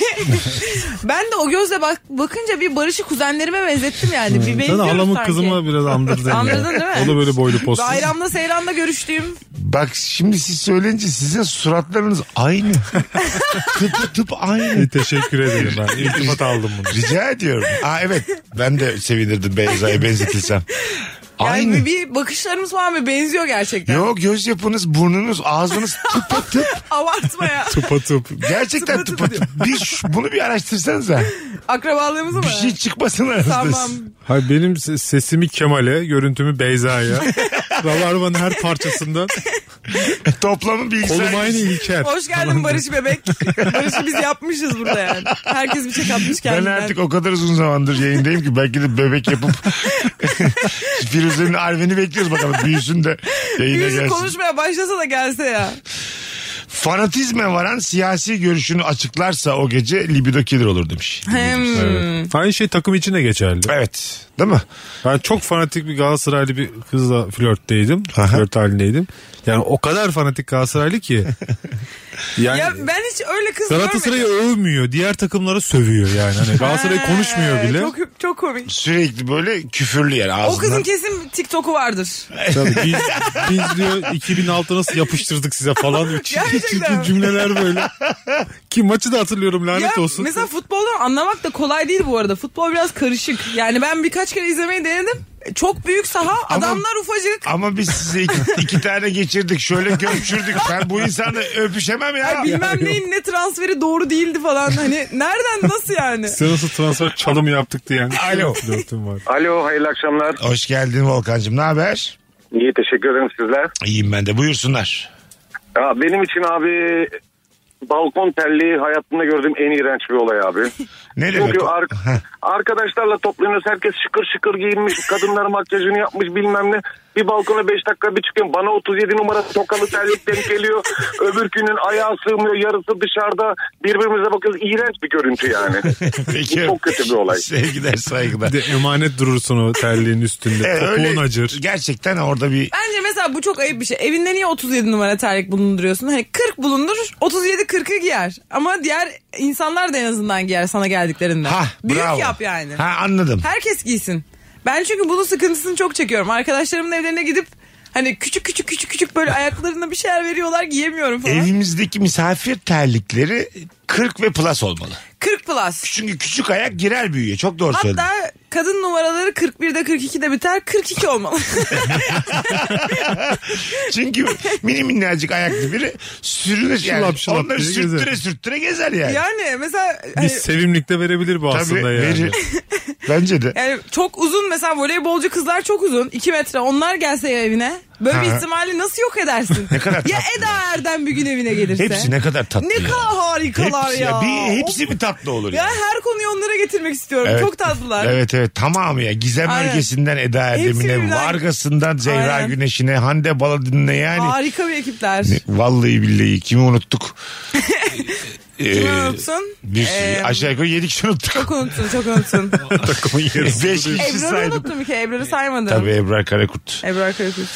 Speaker 4: Ben de o gözle bak bakınca bir Barış'ı kuzenlerime benzettim yani. Bir
Speaker 3: Sana
Speaker 4: benziyoruz
Speaker 3: halamın
Speaker 4: sanki.
Speaker 3: kızıma biraz andırdın. ya.
Speaker 4: Andırdın değil mi?
Speaker 3: O da böyle boylu poslu.
Speaker 4: Bayramda Seyran'da görüştüğüm
Speaker 2: Bak şimdi siz söyleyince sizin suratlarınız aynı. tıp tıp aynı.
Speaker 3: Teşekkür ederim ben. İltifat aldım bunu.
Speaker 2: Rica ediyorum. Aa evet ben de sevinirdim Beyza'ya benzetilsem. Aynı.
Speaker 4: Yani bir bakışlarımız falan mı benziyor gerçekten.
Speaker 2: Yok göz yapınız, burnunuz, ağzınız tıp tıp.
Speaker 4: Abartma ya.
Speaker 3: Tıpa tıp.
Speaker 2: Gerçekten
Speaker 4: Tıpa
Speaker 2: tıp tıp. Bir, ş- bunu bir araştırsanıza.
Speaker 4: Akrabalığımız mı?
Speaker 2: Bir şey çıkmasın aranızda.
Speaker 4: Tamam.
Speaker 3: Hayır benim se- sesimi Kemal'e, görüntümü Beyza'ya. Rabarbanın her parçasından
Speaker 2: Toplamın bilgisayar.
Speaker 3: kolum aynı İlker.
Speaker 4: Hoş geldin Barış Bebek. Barış'ı biz yapmışız burada yani. Herkes bir çek atmış
Speaker 2: Ben
Speaker 4: kendinden.
Speaker 2: artık o kadar uzun zamandır yayındayım ki belki de bebek yapıp Firuze'nin Arven'i bekliyoruz bakalım büyüsün de yayına
Speaker 4: Yüzü
Speaker 2: gelsin.
Speaker 4: konuşmaya başlasa da gelse ya.
Speaker 2: Fanatizme varan siyasi görüşünü açıklarsa o gece libido killer olur demiş.
Speaker 4: Hem.
Speaker 3: Aynı şey takım için de geçerli.
Speaker 2: Evet. Değil mi?
Speaker 3: Ben çok fanatik bir Galatasaraylı bir kızla flörtteydim.
Speaker 2: Aha.
Speaker 3: Flört halindeydim. Yani o kadar fanatik Galatasaraylı ki. Yani
Speaker 4: Ya ben hiç öyle kız
Speaker 3: Galatasaray'ı
Speaker 4: görmedim.
Speaker 3: övmüyor. Diğer takımlara sövüyor yani. Hani Galatasaray
Speaker 4: Ha,
Speaker 3: konuşmuyor bile.
Speaker 4: Çok, çok komik.
Speaker 2: Sürekli böyle küfürlü yani
Speaker 4: O
Speaker 2: ağzından.
Speaker 4: kızın kesin TikTok'u vardır.
Speaker 3: Tabii biz, biz diyor 2006 nasıl yapıştırdık size falan. Çirkin
Speaker 4: Gerçekten.
Speaker 3: çirkin cümleler böyle. Ki maçı da hatırlıyorum lanet
Speaker 4: Ya,
Speaker 3: olsun.
Speaker 4: Mesela futboldan anlamak da kolay değil bu arada. Futbol biraz karışık. Yani ben birkaç kere izlemeyi denedim. Çok büyük saha, adamlar ufacık.
Speaker 2: Ama biz size iki, iki tane geçirdik. Şöyle gömçürdük. Ben bu insanla öpüşemem ya.
Speaker 4: Bilmem neyin ne transferi doğru değildi falan. Hani nereden nasıl yani?
Speaker 3: Sen nasıl transfer çalımı yaptık diye. Yani.
Speaker 2: Alo.
Speaker 3: Flörtüm var.
Speaker 5: Alo hayırlı akşamlar.
Speaker 2: Hoş geldin Volkan'cığım. Ne haber?
Speaker 5: İyi teşekkür ederim sizler.
Speaker 2: İyiyim ben de. Buyursunlar.
Speaker 5: Ya benim için abi balkon terliği hayatımda gördüğüm en iğrenç bir olay abi.
Speaker 2: Ne demek
Speaker 5: Çünkü
Speaker 2: o?
Speaker 5: ar- arkadaşlarla toplanıyoruz herkes şıkır şıkır giyinmiş kadınlar makyajını yapmış bilmem ne. Bir balkona 5 dakika bir çıkıyorum bana 37 numara tokalı terlik denk geliyor. Öbür günün ayağı sığmıyor yarısı dışarıda birbirimize bakıyoruz iğrenç bir görüntü yani.
Speaker 2: Peki.
Speaker 5: Çok kötü bir olay.
Speaker 2: Sevgiler saygılar.
Speaker 3: Bir de emanet durursun o terliğin üstünde.
Speaker 2: Evet,
Speaker 3: Topuğun
Speaker 2: E, öyle-
Speaker 3: acır.
Speaker 2: Gerçekten orada bir
Speaker 4: Bence mesela bu çok ayıp bir şey. Evinde niye 37 numara terlik bulunduruyorsun? Hani 40 bulundur, 37 40'ı giyer. Ama diğer insanlar da en azından giyer sana geldiklerinde.
Speaker 2: ha
Speaker 4: Büyük
Speaker 2: bravo.
Speaker 4: yap yani.
Speaker 2: Ha anladım.
Speaker 4: Herkes giysin. Ben çünkü bunun sıkıntısını çok çekiyorum. Arkadaşlarımın evlerine gidip hani küçük küçük küçük küçük böyle ayaklarına bir şeyler veriyorlar giyemiyorum falan.
Speaker 2: Evimizdeki misafir terlikleri 40 ve plus olmalı.
Speaker 4: 40 plus.
Speaker 2: Çünkü küçük ayak girer büyüyor. Çok doğru söyledin.
Speaker 4: Hatta kadın numaraları 41'de 42'de biter 42 olmalı.
Speaker 2: Çünkü mini minnacık ayaklı biri sürünür yani.
Speaker 3: Şılap şılap
Speaker 2: Onları
Speaker 3: diye
Speaker 2: sürttüre
Speaker 3: gezer.
Speaker 2: sürttüre gezer yani.
Speaker 4: yani mesela
Speaker 3: Bir
Speaker 4: hani
Speaker 3: sevimlikte verebilir bu
Speaker 2: Tabii
Speaker 3: aslında yani.
Speaker 2: verir. Bence de.
Speaker 4: Yani çok uzun mesela voleybolcu kızlar çok uzun. 2 metre onlar gelse ya evine. Böyle bir
Speaker 2: Ha.
Speaker 4: ihtimali nasıl yok edersin? ne
Speaker 2: kadar
Speaker 4: ya Eda Erdem bir gün evine gelirse.
Speaker 2: Hepsi ne kadar tatlı.
Speaker 4: Ne
Speaker 2: ya.
Speaker 4: kadar harikalar
Speaker 2: Hepsi
Speaker 4: ya.
Speaker 2: Bir, hepsi mi tatlı olur
Speaker 4: Ya
Speaker 2: ya?
Speaker 4: her konuyu onlara getirmek istiyorum.
Speaker 2: Evet.
Speaker 4: Çok tatlılar.
Speaker 2: Evet evet tamamı ya. Gizem
Speaker 4: Aynen.
Speaker 2: Ergesi'nden Eda
Speaker 4: Hepsi
Speaker 2: Erdem'ine,
Speaker 4: birbirinden-
Speaker 2: Vargas'ından Zehra
Speaker 4: Aynen.
Speaker 2: Güneş'ine, Hande Baladin'ine yani.
Speaker 4: Harika bir ekipler.
Speaker 2: Vallahi billahi kimi unuttuk?
Speaker 4: Kimi
Speaker 2: Ee,
Speaker 4: unuttun?
Speaker 2: Bir
Speaker 4: Ee,
Speaker 2: aşağı yukarı 7 kişi unuttuk.
Speaker 4: Çok unuttun çok unuttun.
Speaker 3: Takımın
Speaker 2: 5 kişi
Speaker 4: Ebrar'ı
Speaker 2: şey saydım.
Speaker 4: unuttum bir kere Ebrar'ı saymadım.
Speaker 2: Tabii Ebrar Karakurt.
Speaker 4: Ebrar Karakurt.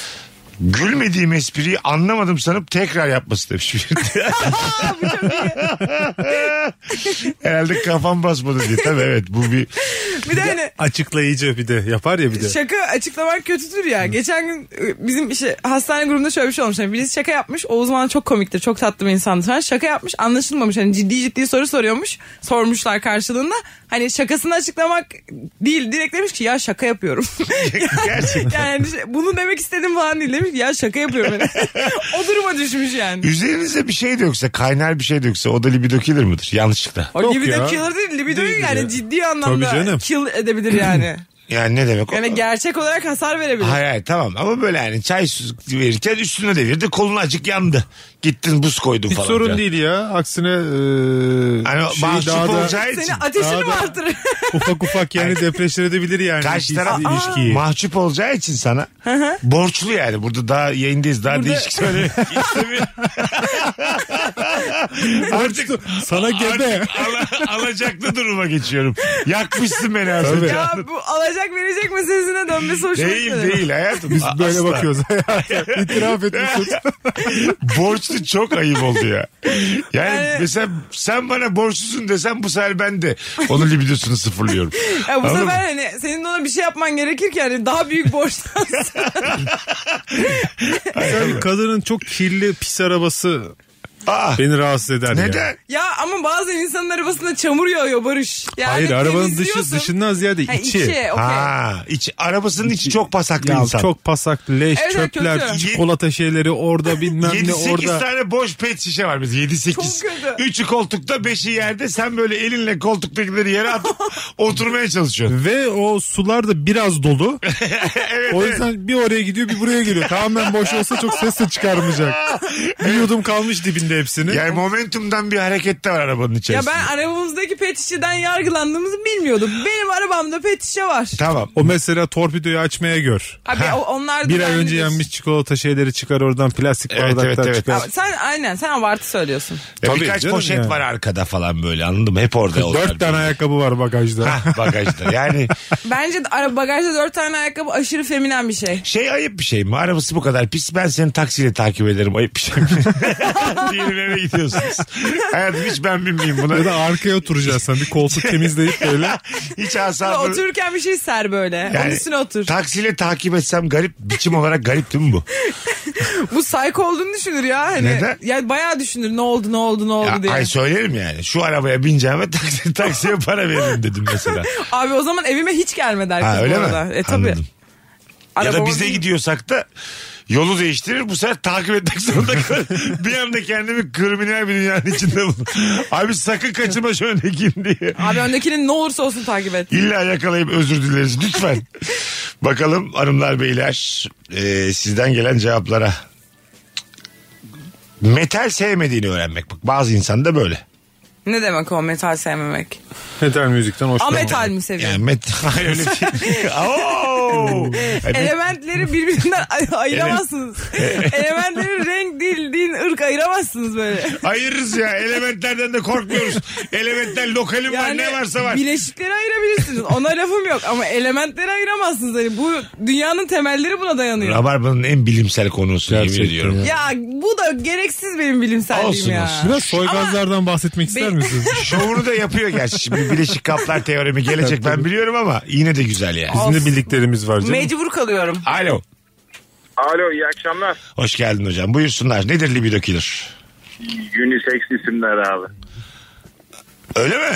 Speaker 2: Gülmediğim espriyi anlamadım sanıp tekrar yapması demiş. biri.
Speaker 4: Aa, bu çok iyi.
Speaker 2: Herhalde kafam basmadı diye. Tabii evet bu bir
Speaker 4: Bir de hani
Speaker 3: Açıklayıcı bir de yapar ya bir de.
Speaker 4: şaka açıklamak kötüdür ya. Geçen gün e, bizim işte hastane grubunda şöyle bir şey olmuş. Yani birisi şaka yapmış. Oğuz Mağan çok komiktir. Çok tatlı bir insandır. falan. şaka yapmış anlaşılmamış. Hani ciddi ciddi soru soruyormuş. Sormuşlar karşılığında. Hani şakasını açıklamak değil. Direkt demiş ki ya şaka yapıyorum.
Speaker 2: gerçekten.
Speaker 4: yani şey, bunu demek istedim falan değil. Demiş ki ya şaka yapıyorum. Yani. o duruma düşmüş yani.
Speaker 2: Üzerinize bir şey de yoksa kaynar bir şey de yoksa o da libido killer mıdır? Yanlışlıkla.
Speaker 4: O
Speaker 3: Yok
Speaker 4: libido
Speaker 3: ya.
Speaker 4: killer değil. Libidoyu
Speaker 3: Değil
Speaker 4: yani
Speaker 3: ya.
Speaker 4: ciddi anlamda
Speaker 3: Tabii canım.
Speaker 4: kill edebilir yani.
Speaker 2: Yani ne demek? o?
Speaker 4: Yani gerçek olarak hasar verebilir.
Speaker 2: Hayır hayır tamam ama böyle hani çay su verirken üstüne devirdi kolun acık yandı. Gittin buz koydun
Speaker 3: Hiç
Speaker 2: falan.
Speaker 3: sorun
Speaker 2: filan.
Speaker 3: değil ya. Aksine e,
Speaker 2: Hani
Speaker 3: şeyi
Speaker 2: mahcup
Speaker 3: daha da
Speaker 2: olacağı için.
Speaker 4: Senin ateşini
Speaker 3: Daha
Speaker 4: mi
Speaker 3: da-
Speaker 4: artırır?
Speaker 3: ufak ufak yani depreşir edebilir yani.
Speaker 2: Karşı
Speaker 3: ikisi
Speaker 2: taraf
Speaker 3: ilişkiyi.
Speaker 2: mahcup olacağı için sana borçlu yani. Burada daha yayındayız daha değişik söylemek istemiyorum. Artık
Speaker 3: Sana gebe.
Speaker 2: Artık ala- alacaklı duruma geçiyorum. Yakmışsın beni az
Speaker 3: Tabii.
Speaker 2: önce.
Speaker 4: ya bu alacak verecek meselesine dönmesi hoşuma
Speaker 2: Değil
Speaker 4: gitmedi.
Speaker 2: değil hayatım.
Speaker 3: Biz
Speaker 2: A-
Speaker 3: böyle
Speaker 2: asla.
Speaker 3: bakıyoruz hayata. İtiraf etmişiz.
Speaker 2: Borçlu çok ayıp oldu ya. Yani,
Speaker 4: Yani-
Speaker 2: mesela sen bana borçlusun desem bu sefer ben de onun libidosunu sıfırlıyorum.
Speaker 4: Ya bu
Speaker 2: Anladın mı?
Speaker 4: sefer hani senin de ona bir şey yapman gerekir ki hani daha büyük borçtan.
Speaker 3: Yani kadının çok kirli pis arabası
Speaker 2: Aa,
Speaker 3: beni rahatsız eder ya.
Speaker 2: Ah, neden?
Speaker 4: ya ama bazen insanın arabasında çamur yağıyor Barış. Yani
Speaker 3: Hayır arabanın dışı
Speaker 4: temizliyorsun.
Speaker 3: dışından ziyade
Speaker 4: Ha,
Speaker 3: içi.
Speaker 4: içi E, okey.
Speaker 2: Ha, iç, arabasının içi çok pasaklı
Speaker 3: Ya
Speaker 2: insan.
Speaker 3: çok pasak, leş,
Speaker 4: Evet, evet,
Speaker 3: çöpler,
Speaker 4: kötü.
Speaker 3: çikolata şeyleri orada bilmem ne
Speaker 2: 7-8
Speaker 3: orada.
Speaker 2: tane boş pet şişe var biz 7-8.
Speaker 4: Çok kötü.
Speaker 2: Üçü koltukta 5'i yerde sen böyle elinle koltuktakileri yere atıp oturmaya çalışıyorsun.
Speaker 3: Ve o sular da biraz dolu. o yüzden bir oraya gidiyor bir buraya geliyor. Tamamen boş olsa çok ses de çıkarmayacak. Bir yudum kalmış dibinde hepsini.
Speaker 2: Yani momentumdan bir hareket de var arabanın
Speaker 4: Ya
Speaker 2: içerisinde.
Speaker 4: ben arabamızdaki pet şişeden yargılandığımızı bilmiyordum. Benim arabamda pet şişe var.
Speaker 2: Tamam.
Speaker 3: O mesela torpidoyu açmaya gör.
Speaker 4: Abi o- onlar da
Speaker 3: Bir ay önce
Speaker 4: bendedir.
Speaker 3: yenmiş çikolata şeyleri çıkar oradan plastik
Speaker 2: Evet,
Speaker 3: bardaklar
Speaker 2: evet, evet.
Speaker 3: çıkar.
Speaker 4: Abi sen aynen sen abartı söylüyorsun.
Speaker 2: Ya
Speaker 3: Tabii
Speaker 2: E, birkaç
Speaker 3: canım
Speaker 2: poşet
Speaker 3: yani.
Speaker 2: var arkada falan böyle anladın mı? Hep orada onlar.
Speaker 3: Dört tane ayakkabı var bagajda.
Speaker 2: Ha, bagajda. Yani
Speaker 4: Bence de ara- bagajda dört tane ayakkabı aşırı feminen bir şey.
Speaker 2: şey ayıp bir şey mi? Arabası bu kadar pis. Ben seni taksiyle takip ederim. Ayıp bir şey mi? Diyelim eve gidiyorsunuz. Hayatım hiç ben binmeyeyim buna.
Speaker 3: Ya da arkaya oturacaksın. Bir koltuk temizleyip böyle.
Speaker 2: Hiç
Speaker 4: Böyle
Speaker 2: asabım.
Speaker 4: Otururken bir şey ser böyle. Onun
Speaker 2: Yani
Speaker 4: üstüne otur.
Speaker 2: Taksiyle takip etsem garip biçim olarak garip değil mi bu?
Speaker 4: Bu psycho olduğunu düşünür ya. Hani,
Speaker 2: Neden?
Speaker 4: Yani bayağı düşünür ne oldu ne oldu ne oldu
Speaker 2: Ya,
Speaker 4: diye.
Speaker 2: ay söylerim yani. Şu arabaya bineceğim ve taksi, taksiye para veririm dedim mesela.
Speaker 4: Abi o zaman evime hiç gelmedi herkes
Speaker 2: Ha,
Speaker 4: bu
Speaker 2: öyle mi?
Speaker 4: arada. E tabii.
Speaker 2: Anladım. Ya da
Speaker 4: Arabama
Speaker 2: bize
Speaker 4: bin-
Speaker 2: gidiyorsak da yolu değiştirir. Bu sefer takip etmek zorunda kalırım. bir anda kendimi kriminal bir dünyanın içinde bulurum. Abi sakın kaçırma şu öndekiyim diye.
Speaker 4: Abi öndekinin ne olursa olsun takip et.
Speaker 2: İlla yakalayıp özür dileriz lütfen. Bakalım hanımlar beyler e, sizden gelen cevaplara. Metal sevmediğini öğrenmek. Bak bazı insan da böyle.
Speaker 4: Ne demek o metal sevmemek?
Speaker 3: Metal müzikten
Speaker 4: A
Speaker 3: hoşlanmam.
Speaker 4: metal mi seviyor?
Speaker 2: Yani met Hayır, öyle değil. Oo! Ay, met-
Speaker 4: Elementleri birbirinden ay- ayıramazsınız. Elementleri renk, dil, din, ırk ayıramazsınız böyle.
Speaker 2: Ayırırız ya. Elementlerden de korkmuyoruz. Elementler lokalim var ne varsa var.
Speaker 4: Bileşikleri ayırabilirsiniz. Ona lafım yok ama elementleri ayıramazsınız. Hani bu dünyanın temelleri buna dayanıyor.
Speaker 2: Rabarba'nın en bilimsel konusu
Speaker 3: Gerçekten
Speaker 2: yemin ediyorum.
Speaker 4: Ya bu da gereksiz benim bilimselliğim
Speaker 2: Olsun,
Speaker 4: ya.
Speaker 2: olsun.
Speaker 3: Biraz soygazlardan bahsetmek ister
Speaker 4: Be-
Speaker 3: misiniz?
Speaker 2: Şovunu da yapıyor gerçi. Şimdi bileşik kaplar teoremi gelecek ben biliyorum ama yine de güzel yani.
Speaker 3: Bizim de bildiklerimiz var canım.
Speaker 4: Mecbur kalıyorum.
Speaker 2: Alo.
Speaker 5: Alo iyi akşamlar.
Speaker 2: Hoş geldin hocam. Buyursunlar. Nedir libido killer?
Speaker 5: Unisex isimler abi.
Speaker 2: Öyle mi?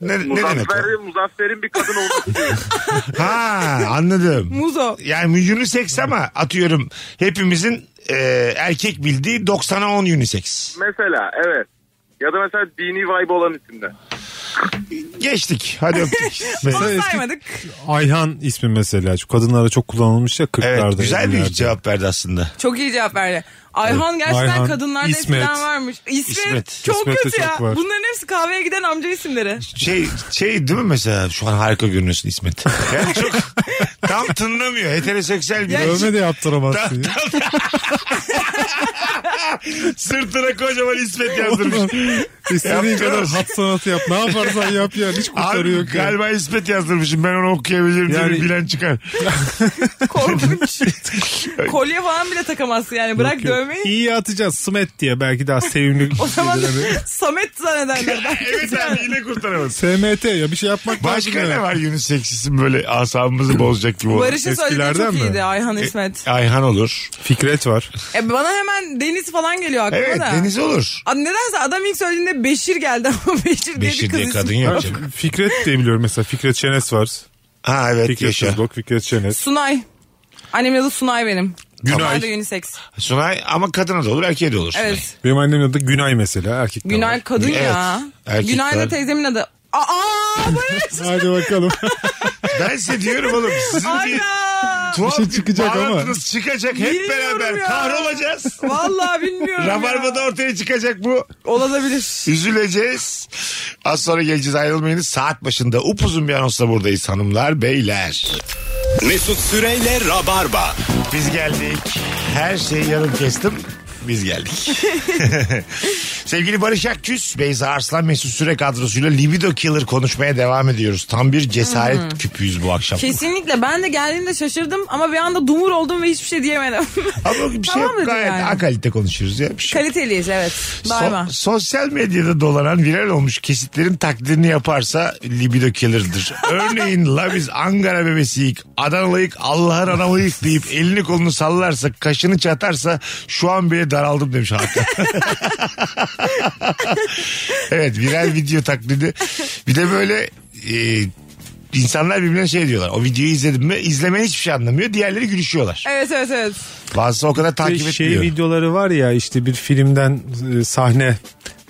Speaker 2: Ne, ne demek o?
Speaker 5: Muzaffer, Muzaffer'in bir kadın olması değil.
Speaker 2: Ha anladım.
Speaker 4: Muzo.
Speaker 3: Ee,
Speaker 2: Yani unisex ama atıyorum hepimizin e, erkek bildiği 90'a 10 unisex.
Speaker 5: Mesela evet.
Speaker 6: Ya da mesela dini vibe olan isimler.
Speaker 2: Geçtik. Hadi öptük. Ve-
Speaker 3: Sen eski-
Speaker 4: Saymadık.
Speaker 3: Ayhan ismi mesela. Şu kadınlara çok kullanılmış ya 40'larda.
Speaker 2: Evet güzel bir
Speaker 3: 50'lerde.
Speaker 2: cevap verdi aslında.
Speaker 4: Çok iyi cevap verdi. Ayhan gerçekten
Speaker 3: Ayhan,
Speaker 4: kadınlarda
Speaker 3: İsmet.
Speaker 4: eskiden varmış. İsmet,
Speaker 2: İsmet.
Speaker 4: çok
Speaker 3: İsmet'te
Speaker 4: kötü ya.
Speaker 3: çok var.
Speaker 4: Bunların hepsi kahveye giden amca isimleri.
Speaker 2: Şey şey değil mi mesela şu an harika görünüyorsun İsmet. Yani çok tam tınlamıyor. Heteroseksüel bir.
Speaker 3: Dövme de yaptıramazsın. ya.
Speaker 2: Sırtına kocaman İsmet yazdırmış.
Speaker 3: İstediğin
Speaker 2: Yaptıramaz.
Speaker 3: kadar hat sanatı yap. Ne yaparsan yap ya. Hiç kurtarı
Speaker 2: Abi
Speaker 3: yok ya.
Speaker 2: galiba İsmet yazdırmışım. Ben onu okuyabilirim diye
Speaker 3: Yani-
Speaker 2: bir bilen çıkar.
Speaker 4: Korkunç. Kolye falan bile takamazsın yani. Bırak
Speaker 3: Yok, yok.
Speaker 4: dövmeyi.
Speaker 3: İyi atacağız. Smet diye belki daha sevimli.
Speaker 4: O zaman Samet zannederler.
Speaker 2: evet abi yine kurtaramaz.
Speaker 3: SMT ya bir şey yapmak lazım.
Speaker 2: Başka
Speaker 3: ya.
Speaker 2: ne var unisex isim böyle asabımızı bozacak gibi olan?
Speaker 4: Barış'ın söylediği çok
Speaker 3: Eskilerden mi? E-
Speaker 4: iyiydi Ayhan İsmet.
Speaker 2: Ayhan olur.
Speaker 3: Fikret var.
Speaker 4: E, bana hemen Deniz falan geliyor aklıma
Speaker 2: Evet
Speaker 4: da.
Speaker 2: Deniz olur.
Speaker 4: A, Nedense adam ilk söylediğinde Beşir geldi ama
Speaker 2: Beşir
Speaker 4: Beşir, diye
Speaker 2: diye
Speaker 4: bir kız
Speaker 2: kadın
Speaker 4: ismi.
Speaker 2: yok.
Speaker 3: Ha, Fikret diye biliyorum mesela. Fikret Çenes var.
Speaker 2: Ha evet
Speaker 3: Fikret
Speaker 2: yaşa.
Speaker 3: Tuzbok, Fikret Çenes.
Speaker 4: Sunay. Annemin adı Sunay benim.
Speaker 2: Günay.
Speaker 4: Bunlar da unisex.
Speaker 2: Sunay ama kadına da olur erkeğe de olur. Sunay.
Speaker 4: Evet.
Speaker 3: Benim annemin adı Günay mesela. Erkek de
Speaker 4: Günay
Speaker 3: var.
Speaker 4: kadın
Speaker 2: Evet.
Speaker 4: ya.
Speaker 2: Erkek
Speaker 4: Günay da
Speaker 2: var.
Speaker 4: teyzemin adı. Aa Barış.
Speaker 3: Hadi bakalım.
Speaker 2: Ben size diyorum oğlum sizin bir
Speaker 4: Ayda.
Speaker 2: tuhaf
Speaker 3: Bir şey çıkacak ama.
Speaker 2: bağlantınız çıkacak hep
Speaker 4: Bilmiyorum
Speaker 2: beraber
Speaker 4: ya.
Speaker 2: kahrolacağız.
Speaker 4: Vallahi bilmiyorum ya.
Speaker 2: Rabarba'da ortaya çıkacak bu.
Speaker 4: Olabilir.
Speaker 2: Üzüleceğiz. Az sonra geleceğiz ayrılmayınız. Saat başında upuzun bir anonsla buradayız hanımlar beyler.
Speaker 1: Mesut Süreyle Rabarba.
Speaker 2: Biz geldik. Her şeyi yarım kestim. Biz geldik. Sevgili Barış Akküz, Beyza Arslan Mesut Süre kadrosuyla Libido Killer konuşmaya devam ediyoruz. Tam bir cesaret
Speaker 4: Hmm.
Speaker 2: küpüyüz bu akşam.
Speaker 4: Kesinlikle ben de geldiğimde şaşırdım ama bir anda dumur oldum ve hiçbir şey diyemedim.
Speaker 2: Ama bir şey
Speaker 4: Tamam
Speaker 2: yok
Speaker 4: dedi
Speaker 2: gayet
Speaker 4: yani.
Speaker 2: A kalite konuşuyoruz ya. Bir şey yok.
Speaker 4: Kaliteliyiz evet. Daima.
Speaker 2: So- sosyal medyada dolanan viral olmuş kesitlerin taklidini yaparsa libido killer'dır. Örneğin la biz Ankara bebesiyik, Adanalıyık, Allah'ın anamıyık deyip elini kolunu sallarsa, kaşını çatarsa şu an bile daraldım demiş Hakan. evet viral video taklidi. Bir de böyle e, insanlar birbirine şey diyorlar. O videoyu izledim mi? İzlemeye hiçbir şey anlamıyor. Diğerleri gülüşüyorlar.
Speaker 4: Evet evet evet.
Speaker 2: Bazısı o kadar
Speaker 3: Bir
Speaker 2: takip
Speaker 3: şey
Speaker 2: etmiyor.
Speaker 3: videoları var ya işte bir filmden e, sahne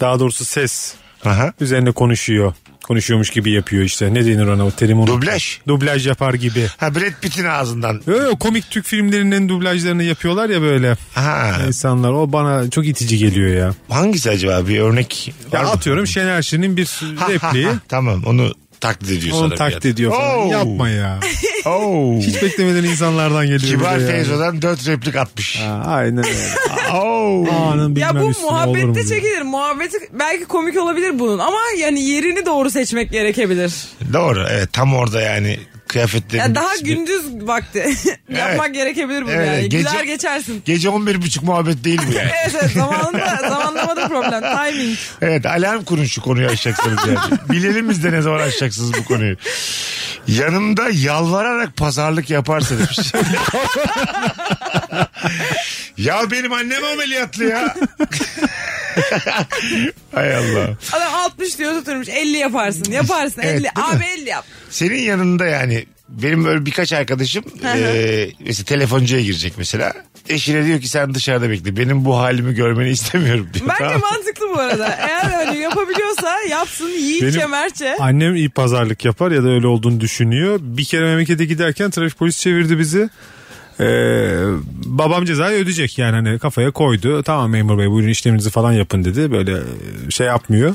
Speaker 3: daha doğrusu ses
Speaker 2: Aha.
Speaker 3: üzerine konuşuyor. Konuşuyormuş gibi yapıyor işte. Ne denir ona o terim unuttum.
Speaker 2: Dublaj.
Speaker 3: Dublaj yapar gibi.
Speaker 2: Ha Brad Pitt'in ağzından.
Speaker 3: Öyle komik Türk filmlerinin dublajlarını yapıyorlar ya böyle
Speaker 2: Ha.
Speaker 3: insanlar. O bana çok itici geliyor ya.
Speaker 2: Hangisi acaba bir örnek?
Speaker 3: Ya
Speaker 2: var mı?
Speaker 3: atıyorum Şener Şen'in bir
Speaker 2: Ha, ha,
Speaker 3: repliği.
Speaker 2: ha. tamam onu taklit ediyor
Speaker 3: Onu
Speaker 2: sana. Oh!
Speaker 3: taklit ediyor falan. Yapma ya.
Speaker 2: Hiç
Speaker 3: Hiç beklemeden insanlardan geliyor.
Speaker 2: Oh! Kibar
Speaker 3: bir de yani.
Speaker 2: Feyzo'dan dört replik atmış. Oh!
Speaker 3: Ha, Aynen öyle.
Speaker 2: Oo.
Speaker 3: Anın
Speaker 4: Ya
Speaker 3: bilmem
Speaker 4: bu
Speaker 3: üstüne olur mu
Speaker 4: muhabbette
Speaker 3: diye.
Speaker 4: çekilir. Muhabbeti belki komik olabilir bunun ama yani yerini doğru seçmek gerekebilir.
Speaker 2: Doğru evet tam orada yani kıyafetlerin.
Speaker 4: Ya daha
Speaker 2: bir-
Speaker 4: gündüz vakti yapmak gerekebilir bunu
Speaker 2: Evet,
Speaker 4: yani.
Speaker 2: gece-
Speaker 4: Güler geçersin.
Speaker 2: Gece 11 buçuk muhabbet değil bu yani.
Speaker 4: Evet evet zamanında zamanlamada problem. Timing.
Speaker 2: evet alarm kurun şu konuyu aşacaksınız yani. Bilelim biz de ne zaman aşacaksınız bu konuyu. Yanımda yalvararak pazarlık yaparsa demiş. ya benim annem ameliyatlı ya. Hay Allah.
Speaker 4: Adam 60 diyor tutturmuş 50 yaparsın. Yaparsın
Speaker 2: Evet,
Speaker 4: 50.
Speaker 2: değil mi?
Speaker 4: Abi 50 yap.
Speaker 2: Senin yanında yani benim böyle birkaç arkadaşım e, mesela telefoncuya girecek mesela. Eşine diyor ki sen dışarıda bekle. Benim bu halimi görmeni istemiyorum diyor.
Speaker 4: Bence
Speaker 2: Tamam.
Speaker 4: mantıklı bu arada. Eğer öyle yapabiliyorsa yapsın yiğitçe
Speaker 3: Benim-
Speaker 4: mertçe.
Speaker 3: Annem iyi pazarlık yapar ya da öyle olduğunu düşünüyor. Bir kere memlekete giderken trafik polisi çevirdi bizi. Ee, babam cezayı ödeyecek yani hani kafaya koydu. Tamam memur bey buyurun işleminizi falan yapın dedi. Böyle e, şey yapmıyor.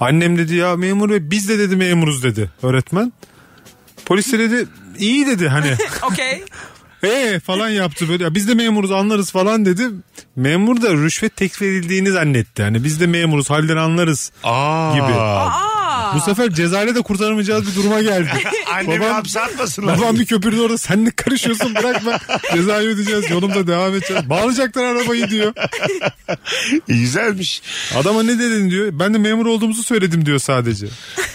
Speaker 3: Annem dedi ya memur bey biz de dedi memuruz dedi öğretmen. Polis de dedi iyi dedi hani
Speaker 4: Okey.
Speaker 3: ee falan yaptı böyle. Ya biz de memuruz anlarız falan dedi. Memur da rüşvet teklif edildiğini zannetti. Hani biz de memuruz halden anlarız
Speaker 2: Aa.
Speaker 3: gibi.
Speaker 4: Aa.
Speaker 3: Bu sefer cezayla de kurtaramayacağız bir duruma geldi.
Speaker 2: Annemi
Speaker 3: Babam-
Speaker 2: hapse atmasınlar.
Speaker 3: Babam bir köpürdü orada sen ne karışıyorsun bırakma. Cezayı ödeyeceğiz yolumuza devam edeceğiz. Bağlayacaklar arabayı diyor.
Speaker 2: Güzelmiş.
Speaker 3: Adama ne dedin diyor. Ben de memur olduğumuzu söyledim diyor sadece.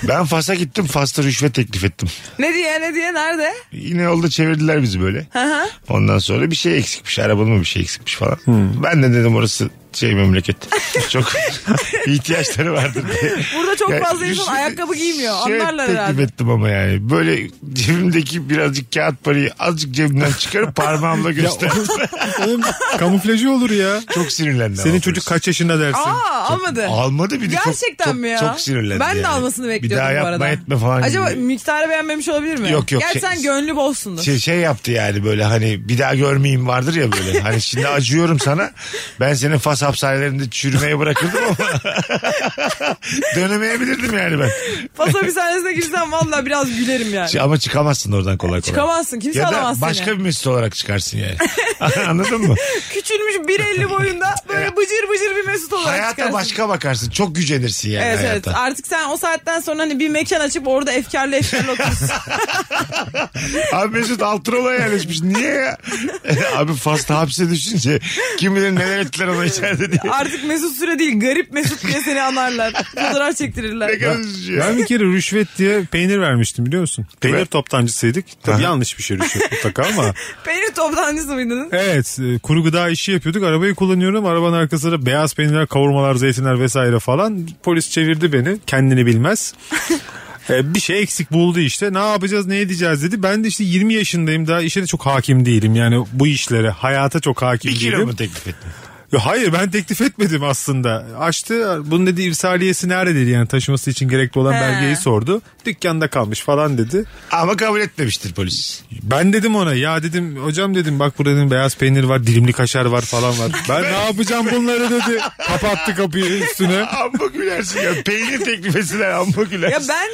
Speaker 2: Ben Fas'a gittim. Fas'ta rüşvet teklif ettim.
Speaker 4: Ne diye ne diye nerede?
Speaker 2: Yine yolda çevirdiler
Speaker 3: Hmm.
Speaker 2: bizi böyle. Ondan sonra bir şey eksikmiş. Arabanın mı bir şey eksikmiş falan. Ben de dedim orası şey memleket. Çok ihtiyaçları vardır diye.
Speaker 4: Burada çok
Speaker 2: Yani
Speaker 4: fazla
Speaker 2: yüz-
Speaker 4: insan ayakkabı giymiyor.
Speaker 2: şöyle
Speaker 4: Anlarlar
Speaker 2: teklif
Speaker 4: herhalde.
Speaker 2: ettim ama yani. Böyle cebimdeki birazcık kağıt parayı azıcık cebimden çıkarıp parmağımla göster.
Speaker 3: Oğlum kamuflajı olur ya.
Speaker 2: çok sinirlendim.
Speaker 3: Senin çocuk kaç yaşında dersin?
Speaker 4: Aa almadı.
Speaker 2: Almadı bir de çok-
Speaker 4: Gerçekten
Speaker 2: çok,
Speaker 4: mi ya?
Speaker 2: Çok, sinirlendim
Speaker 4: Ben de
Speaker 2: yani.
Speaker 4: almasını bekliyordum
Speaker 2: Bir daha
Speaker 4: bu
Speaker 2: yapma
Speaker 4: arada.
Speaker 2: etme falan
Speaker 4: Acaba
Speaker 2: gibi.
Speaker 4: miktarı beğenmemiş olabilir mi?
Speaker 2: Yok, yok.
Speaker 4: Gerçi sen
Speaker 2: Şey-
Speaker 4: gönlü bolsundur.
Speaker 2: şey, şey yaptı yani böyle hani bir daha görmeyeyim vardır ya böyle. Hani şimdi acıyorum sana. Ben senin fas hapishanelerinde çürümeye bırakırdım ama dönemeyebilirdim yani ben.
Speaker 4: Fasa bir sahnesine girsem valla biraz gülerim yani.
Speaker 2: Şey, Ama çıkamazsın oradan kolay kolay.
Speaker 4: Çıkamazsın, kimse
Speaker 2: ya
Speaker 4: alamaz
Speaker 2: da
Speaker 4: seni.
Speaker 2: başka bir mesut olarak çıkarsın yani. Anladın mı?
Speaker 4: Küçülmüş 1.50 boyunda böyle bıcır bıcır bir mesut olarak
Speaker 2: Hayata
Speaker 4: çıkarsın.
Speaker 2: başka bakarsın. Çok gücenirsin yani
Speaker 4: Evet evet
Speaker 2: hayata.
Speaker 4: artık sen o saatten sonra hani bir mekan açıp orada efkarlı efkarlı oturursun.
Speaker 2: Abi Mesut Altırola yerleşmiş. Niye ya? Abi Fas'ta hapse düşünce kim bilir neler ettiler ona içeride diye.
Speaker 4: artık mesut süre değil garip mesut diye seni anarlar. Fotoğraf
Speaker 2: Ne
Speaker 4: çektirirler.
Speaker 2: kadar üzücü ya.
Speaker 3: Ben bir kere rüşvet diye peynir vermiştim biliyor musun? Peynir
Speaker 2: Evet.
Speaker 3: toptancısıydık. Tabii
Speaker 2: Aha.
Speaker 3: yanlış bir şey rüşvet mutlaka ama.
Speaker 4: Peynir toptancısı mıydınız?
Speaker 3: Evet e, kuru gıda işi yapıyorduk. Arabayı kullanıyorum. Arabanın arkasında beyaz peynirler, kavurmalar, zeytinler vesaire falan. Polis çevirdi beni. Kendini bilmez. E, bir şey eksik buldu işte. Ne yapacağız, ne edeceğiz dedi. Ben de işte 20 yaşındayım. Daha işe de çok hakim değilim. Yani bu işlere, hayata çok hakim
Speaker 2: Bir kilo
Speaker 3: değilim.
Speaker 2: mu teklif ettin?
Speaker 3: Ya hayır ben teklif etmedim aslında. Açtı bunun dedi irsaliyesi nerede dedi yani taşıması için gerekli olan
Speaker 4: He.
Speaker 3: belgeyi sordu. Dükkanda kalmış falan dedi.
Speaker 2: Ama kabul etmemiştir polis.
Speaker 3: Ben dedim ona ya dedim hocam dedim bak burada dedim beyaz peynir var dilimli kaşar var falan var. Ben ne yapacağım bunları dedi. Kapattı kapıyı üstüne.
Speaker 2: Amma gülersin ya. Peynir teklif etsinler amma
Speaker 4: Ya
Speaker 2: gülersin.
Speaker 4: ben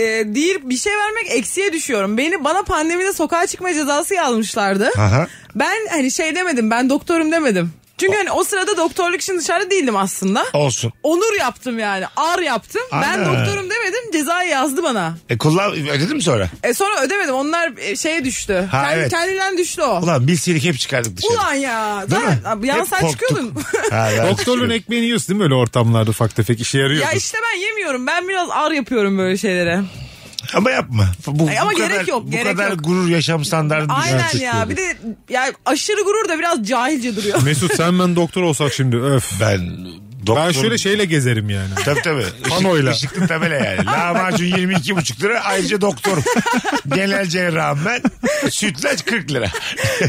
Speaker 4: e, değil bir şey vermek eksiye düşüyorum. Beni bana pandemide sokağa çıkma cezası yazmışlardı.
Speaker 2: Aha.
Speaker 4: Ben hani şey demedim ben doktorum demedim. Çünkü hani o sırada doktorluk için dışarıda değildim aslında.
Speaker 2: Olsun.
Speaker 4: Onur yaptım yani. Ar yaptım. Ben
Speaker 2: Ana.
Speaker 4: doktorum demedim. Cezayı yazdı bana.
Speaker 2: E kullan ödedin mi sonra?
Speaker 4: E sonra ödemedim. Onlar e, şeye düştü.
Speaker 2: Ha,
Speaker 4: Kendi,
Speaker 2: evet.
Speaker 4: Kendinden düştü o. Ulan,
Speaker 2: Ulan bilseydik hep çıkardık dışarı.
Speaker 4: ya.
Speaker 2: Değil mi?
Speaker 4: Zaten, yan
Speaker 2: Hep
Speaker 4: sen
Speaker 2: korktuk.
Speaker 4: çıkıyordun.
Speaker 2: Ha, ben
Speaker 3: Doktorun
Speaker 2: çıkıyorum.
Speaker 3: ekmeğini yiyorsun değil mi öyle ortamlarda ufak tefek işe yarıyor.
Speaker 4: ya işte ben yemiyorum. Ben biraz ar yapıyorum böyle şeylere.
Speaker 2: Ama yapma. Bu, bu
Speaker 4: Ay, ama
Speaker 2: kadar,
Speaker 4: gerek yok,
Speaker 2: Bu
Speaker 4: gerek
Speaker 2: kadar
Speaker 4: yok.
Speaker 2: gurur yaşam standartını
Speaker 4: Aynen
Speaker 2: düşürtecek
Speaker 4: ya.
Speaker 2: yani.
Speaker 4: Bir de ya aşırı gurur da biraz cahilce duruyor.
Speaker 3: Mesut sen ben doktor olsak şimdi öf.
Speaker 2: Ben doktor...
Speaker 3: Ben şöyle şeyle gezerim yani.
Speaker 2: Tabii tabii.
Speaker 3: Panoyla.
Speaker 2: Işık, ışıklı tabela yani. Lahmacun 22,5 lira. Ayrıca doktorum. Genel cerrahım ben. Sütlaç 40 lira.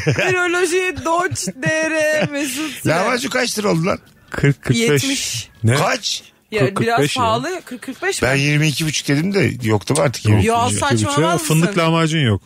Speaker 4: Viroloji, doç, dere, mesut. Süre.
Speaker 2: Lahmacun kaç lira oldu lan?
Speaker 3: 40-45.
Speaker 4: 70.
Speaker 3: Ne?
Speaker 2: Kaç?
Speaker 4: Ya
Speaker 3: 40-45
Speaker 4: biraz
Speaker 3: ya.
Speaker 4: pahalı. 40-45
Speaker 2: Ben
Speaker 4: mi?
Speaker 2: 22,5 dedim de yoktu mu artık?
Speaker 4: Ya
Speaker 2: 22,5?
Speaker 4: saçmalamaz mısın?
Speaker 3: Fındık lahmacun yok.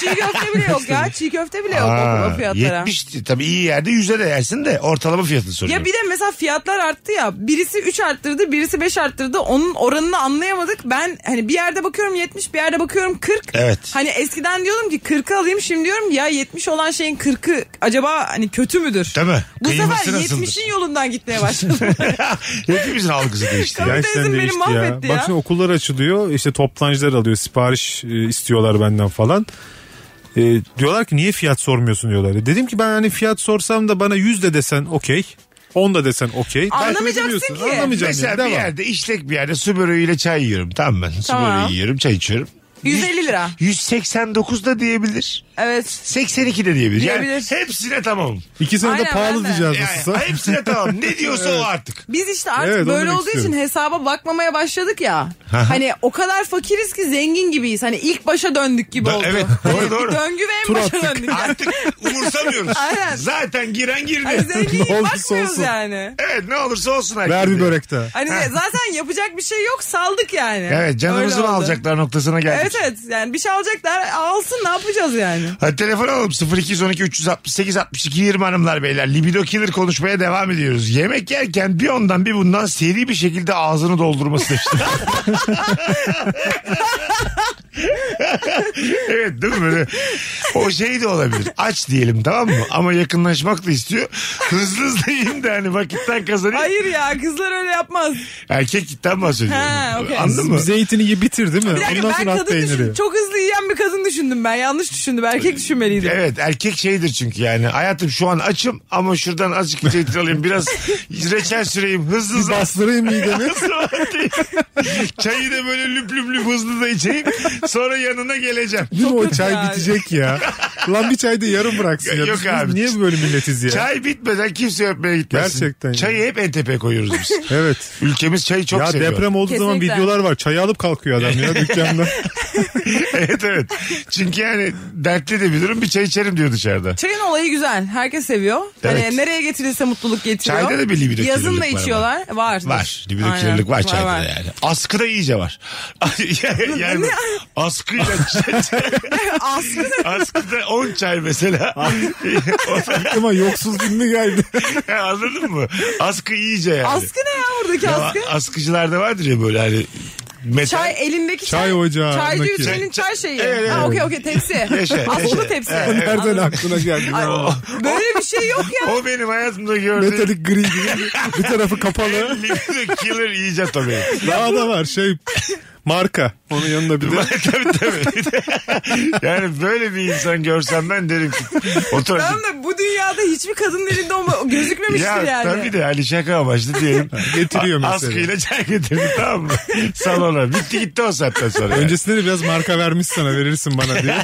Speaker 4: Çiğ köfte bile yok ya. Çiğ köfte bile yok o-
Speaker 2: Aa,
Speaker 4: o fiyatlara.
Speaker 2: 70 tabii iyi yerde 100'e de yersin de ortalama fiyatını soruyorum.
Speaker 4: Ya bir de mesela fiyatlar arttı ya. Birisi 3 arttırdı, birisi 5 arttırdı. Onun oranını anlayamadık. Ben hani bir yerde bakıyorum 70, bir yerde bakıyorum 40.
Speaker 2: Evet.
Speaker 4: Hani eskiden diyordum ki 40'ı alayım şimdi diyorum ya 70 olan şeyin 40'ı acaba hani kötü müdür?
Speaker 2: Değil mi?
Speaker 4: Bu
Speaker 2: Kıyması
Speaker 4: sefer
Speaker 2: nasıldır?
Speaker 4: 70'in yolundan gitmeye başladım.
Speaker 2: Hepimizin algısı değişti.
Speaker 4: Tabii.
Speaker 2: ya.
Speaker 4: Teyzem beni
Speaker 3: değişti
Speaker 4: mahvetti ya.
Speaker 3: Bak şimdi okullar açılıyor işte toptancılar alıyor sipariş e, istiyorlar benden falan. E, diyorlar ki niye fiyat sormuyorsun diyorlar. Dedim ki ben hani fiyat sorsam da bana 100 de desen okey. 10 da desen okey. Takip
Speaker 4: Anlamayacaksın
Speaker 3: edemiyorsun.
Speaker 4: ki.
Speaker 3: Anlamayacaksın.
Speaker 2: Mesela bir
Speaker 3: Devam.
Speaker 2: yerde işlek bir yerde su böreğiyle çay yiyorum tamam ben. Su
Speaker 4: Tamam.
Speaker 2: böreği yiyorum çay içiyorum.
Speaker 4: 150 lira.
Speaker 2: 189 da diyebilir.
Speaker 4: Evet.
Speaker 2: 82 de diyebilir. Yani
Speaker 4: Diyebilir.
Speaker 2: hepsine tamam.
Speaker 3: İki sene de
Speaker 4: Aynen, ben
Speaker 3: pahalı
Speaker 4: de.
Speaker 3: diyeceğiz
Speaker 2: Yani
Speaker 3: nasılsa.
Speaker 2: hepsine tamam. Ne diyorsa o artık.
Speaker 4: Biz işte artık
Speaker 3: Evet, onu
Speaker 4: böyle
Speaker 3: demek
Speaker 4: olduğu için
Speaker 3: istiyorum.
Speaker 4: hesaba bakmamaya başladık ya. hani o kadar fakiriz ki zengin gibiyiz. Hani ilk başa döndük gibi
Speaker 2: Da-
Speaker 4: oldu.
Speaker 2: evet,
Speaker 4: Hani
Speaker 2: doğru,
Speaker 4: bir
Speaker 2: doğru.
Speaker 4: Döngü ve en
Speaker 3: Tur
Speaker 4: başa
Speaker 3: attık.
Speaker 4: döndük.
Speaker 2: Artık umursamıyoruz.
Speaker 4: Aynen.
Speaker 2: Zaten giren
Speaker 4: Hani
Speaker 2: girdi.
Speaker 4: zengin
Speaker 3: Ne olursa
Speaker 4: bakmıyoruz
Speaker 3: olsun.
Speaker 4: yani.
Speaker 2: Evet ne olursa olsun.
Speaker 3: Ver
Speaker 2: herkese.
Speaker 3: bir börek daha.
Speaker 4: Hani zaten yapacak bir şey yok saldık yani.
Speaker 2: Evet canımızı
Speaker 4: Öyle
Speaker 2: mı
Speaker 4: oldu.
Speaker 2: alacaklar noktasına geldik.
Speaker 4: Evet evet yani bir şey alacaklar alsın ne yapacağız yani.
Speaker 2: Hadi telefon alalım 0212 368 62 20 hanımlar beyler. Libido killer konuşmaya devam ediyoruz. Yemek yerken bir ondan bir bundan seri bir şekilde ağzını doldurması işte. evet değil mi böyle? O şey de olabilir. Aç diyelim tamam mı? Ama yakınlaşmak da istiyor. Hızlı hızlı yiyeyim de hani vakitten kazanayım.
Speaker 4: Hayır ya kızlar öyle yapmaz.
Speaker 2: Erkeklikten bahsediyorum.
Speaker 4: Ha, okey.
Speaker 2: Anladın mı?
Speaker 3: Biz zeytini ye bitir değil mi?
Speaker 4: Bir dakika
Speaker 3: Ondan
Speaker 4: ben
Speaker 3: sonra at
Speaker 4: kadın
Speaker 3: peyniri.
Speaker 4: düşündüm. Çok hızlı yiyen bir kadın düşündüm ben. Yanlış düşündüm. Erkek düşünmeliydim.
Speaker 2: Evet erkek şeydir çünkü yani hayatım şu an açım ama şuradan azıcık bir zeytin alayım biraz reçel süreyim hızlı hızlı
Speaker 3: Bastırayım midemi.
Speaker 2: Çayı da böyle lüp lüp lüp hızlı da içeyim. Sonra yanında sonuna geleceğim.
Speaker 3: Değil mi o
Speaker 4: kötü
Speaker 3: çay
Speaker 4: yani.
Speaker 3: bitecek ya. Lan bir çay da yarım bıraksın ya.
Speaker 2: Yok
Speaker 3: Biz- biz
Speaker 2: abi.
Speaker 3: Niye böyle milletiz ya?
Speaker 2: Çay bitmeden kimse öpmeye gitmesin.
Speaker 3: Gerçekten ya.
Speaker 2: Çayı hep en tepeye koyuyoruz biz.
Speaker 3: Evet.
Speaker 2: Ülkemiz çayı çok
Speaker 3: ya
Speaker 2: seviyor.
Speaker 3: deprem olduğu zaman
Speaker 7: Kesinlikle.
Speaker 3: videolar var. Çayı alıp kalkıyor adam ya dükkanda.
Speaker 2: evet evet. Çünkü yani dertli de bir durum bir çay içerim diyor dışarıda.
Speaker 4: Çayın olayı güzel. Herkes seviyor.
Speaker 2: Evet.
Speaker 4: Hani nereye getirilse mutluluk getiriyor.
Speaker 2: Çayda da bir libido
Speaker 4: Yazın
Speaker 2: kirlilik var
Speaker 4: da
Speaker 2: ama.
Speaker 4: içiyorlar. Var.
Speaker 2: Var. Libido kirlilik var çayda da yani. Askı da iyice var. yani askıyla
Speaker 4: Aslında
Speaker 2: askıda 10 çay mesela. O da-
Speaker 3: Ama yoksuz günlü geldi.
Speaker 2: Anladın mı? Askı iyice yani.
Speaker 4: askı ne ya buradaki
Speaker 2: Ya,
Speaker 4: askı?
Speaker 2: askıcılarda vardır ya böyle hani metal.
Speaker 4: Çay elindeki
Speaker 3: Çay ocağı,
Speaker 4: Çay
Speaker 3: ondaki.
Speaker 4: düğümlerinin çay şeyi.
Speaker 2: Evet, Şey, evet.
Speaker 4: Ha okey okey tepsi.
Speaker 2: Yaşa, yaşa.
Speaker 4: Askılı tepsi.
Speaker 3: Nereden
Speaker 4: Anladım.
Speaker 3: aklına geldi?
Speaker 4: Ay,
Speaker 3: ya?
Speaker 4: böyle bir şey yok ya.
Speaker 2: O benim hayatımda gördüğüm
Speaker 3: Metalik gri gibi bir tarafı kapalı.
Speaker 2: libido killer iyice tabii.
Speaker 3: Daha da var şey marka. Onun yanında bir de
Speaker 2: tabii tabii. yani böyle bir insan görsem ben derim ki otur.
Speaker 4: Tamam da bu dünyada hiçbir kadın elinde olma, gözükmemiştir
Speaker 2: Ya
Speaker 4: yani.
Speaker 2: tabii de Ali şaka amaçlı diyelim.
Speaker 3: getiriyor
Speaker 2: A-
Speaker 3: mesela.
Speaker 2: Askıyla çay getirdi tamam mı? Salona. Bitti gitti o saatten sonra. yani.
Speaker 3: Öncesinde de biraz marka vermiş sana verirsin bana diye.